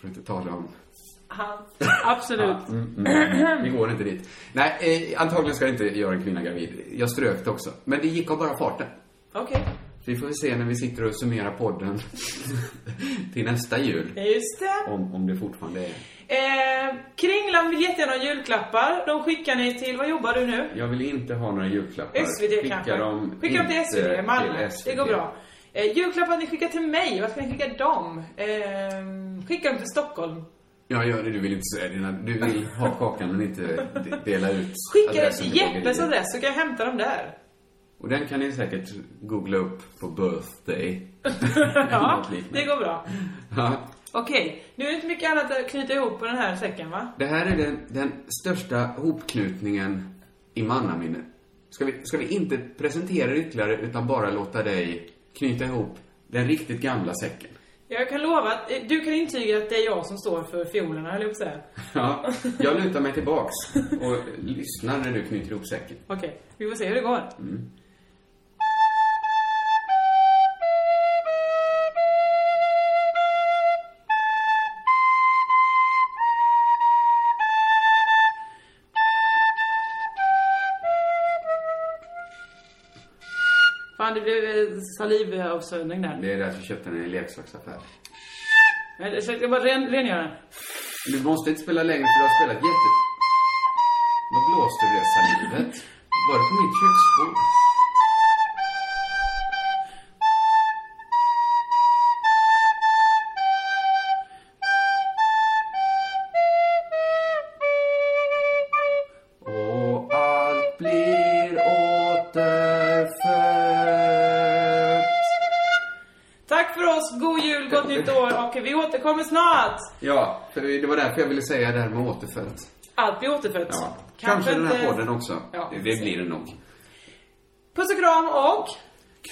Speaker 2: För att inte tala om (laughs)
Speaker 3: Han, absolut.
Speaker 2: Mm, mm, vi går inte dit. Nej, eh, antagligen ska jag inte göra en kvinna gravid. Jag strök det också. Men det gick av bara farten.
Speaker 3: Okej,
Speaker 2: Vi får väl se när vi sitter och summerar podden (laughs) till nästa jul.
Speaker 3: just det.
Speaker 2: Om, om det fortfarande är.
Speaker 3: Eh, Kringlan vill jättegärna ha julklappar. De skickar ni till, vad jobbar du nu?
Speaker 2: Jag vill inte ha några julklappar.
Speaker 3: SVD kanske?
Speaker 2: Skicka dem
Speaker 3: skicka dem till
Speaker 2: inte
Speaker 3: SVD, Malmö.
Speaker 2: till SVD.
Speaker 3: Det går bra. Eh, julklappar ni skickar till mig, vad ska ni skicka dem? Eh, skicka dem till Stockholm.
Speaker 2: Ja, gör det. Du vill inte säga dina... Du vill ha kakan men inte de- dela ut
Speaker 3: Skicka dem
Speaker 2: adressen
Speaker 3: till
Speaker 2: till bageriet.
Speaker 3: Jeppes adress så kan jag hämta dem där.
Speaker 2: Och den kan ni säkert googla upp på birthday. (laughs)
Speaker 3: Ja,
Speaker 2: (laughs) Något liknande.
Speaker 3: det går bra.
Speaker 2: Ja.
Speaker 3: Okej, nu är det inte mycket annat att knyta ihop på den här säcken va?
Speaker 2: Det här är den, den största hopknutningen i mannaminne. Ska vi, ska vi inte presentera det ytterligare utan bara låta dig knyta ihop den riktigt gamla säcken?
Speaker 3: Jag kan lova att eh, du kan intyga att det är jag som står för fiolerna, höll jag på att säga.
Speaker 2: (laughs) Ja, jag lutar mig tillbaks och lyssnar när du knyter ihop säcken.
Speaker 3: Okej, vi får se hur det går.
Speaker 2: Mm.
Speaker 3: Fan, det blev eh, salivavsöndring där.
Speaker 2: Det är därför jag köpte den i en leksaksaffär.
Speaker 3: Men, så Jag ska bara ren, rengöra den.
Speaker 2: Du måste inte spela längre för du har spelat jätte... Vad blåste du det salivet? Var det på mitt köksbord?
Speaker 3: jul, gott nytt år och vi återkommer snart.
Speaker 2: Ja, för det det var därför jag ville säga det här med återfött.
Speaker 3: Allt blir återfött.
Speaker 2: Ja. Kanske, den här
Speaker 3: inte-
Speaker 2: podden också.
Speaker 3: Ja,
Speaker 2: det blir det nog.
Speaker 3: Puss och kram och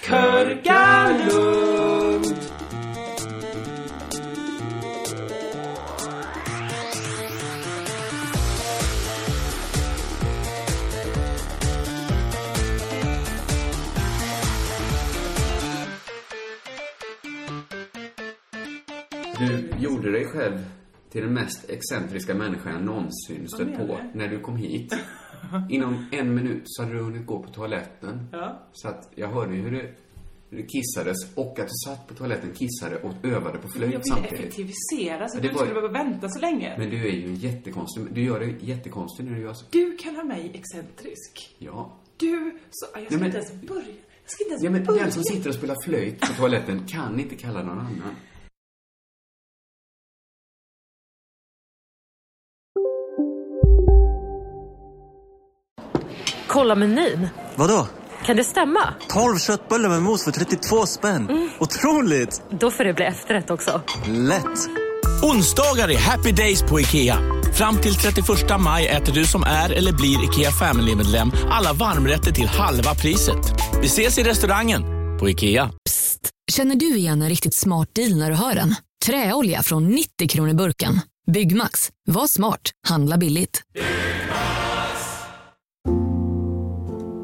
Speaker 3: körka lugnt.
Speaker 2: Du gjorde dig själv till den mest excentriska människan jag någonsin stött på när du kom hit. Inom en minut så hade du hunnit gå på toaletten.
Speaker 3: Ja.
Speaker 2: Så att jag hörde ju hur du- hur du kissades och att du satt på toaletten, kissade och övade på
Speaker 3: Jag
Speaker 2: flöjt
Speaker 3: ville
Speaker 2: samtidigt.
Speaker 3: effektivisera så
Speaker 2: Ja,
Speaker 3: att
Speaker 2: det
Speaker 3: du
Speaker 2: var-
Speaker 3: inte skulle behöva vänta så länge.
Speaker 2: Men du är ju en jättekonstig, du gör dig jättekonstig när du gör så.
Speaker 3: Du kallar mig excentrisk.
Speaker 2: Ja.
Speaker 3: Du, så, jag ska
Speaker 2: Nej, men-
Speaker 3: inte ens börja. Jag ska inte ens
Speaker 2: Ja men
Speaker 3: börja.
Speaker 2: den som sitter och spelar flöjt på toaletten kan inte kalla någon annan.
Speaker 10: Kolla menyn.
Speaker 11: Vadå?
Speaker 10: Kan det stämma?
Speaker 11: 12 köttbullar med mos för 32 spänn. Otroligt!
Speaker 10: Då får det bli efterrätt också.
Speaker 11: Lätt!
Speaker 12: Onsdagar är happy days på IKEA. Fram till 31 maj äter du som är eller blir IKEA Family-medlem alla varmrätter till halva priset. Vi ses i restaurangen på IKEA.
Speaker 7: Känner du igen en riktigt smart deal när du hör den? Träolja från 90 kronor i burken. Byggmax. Var smart. Handla billigt.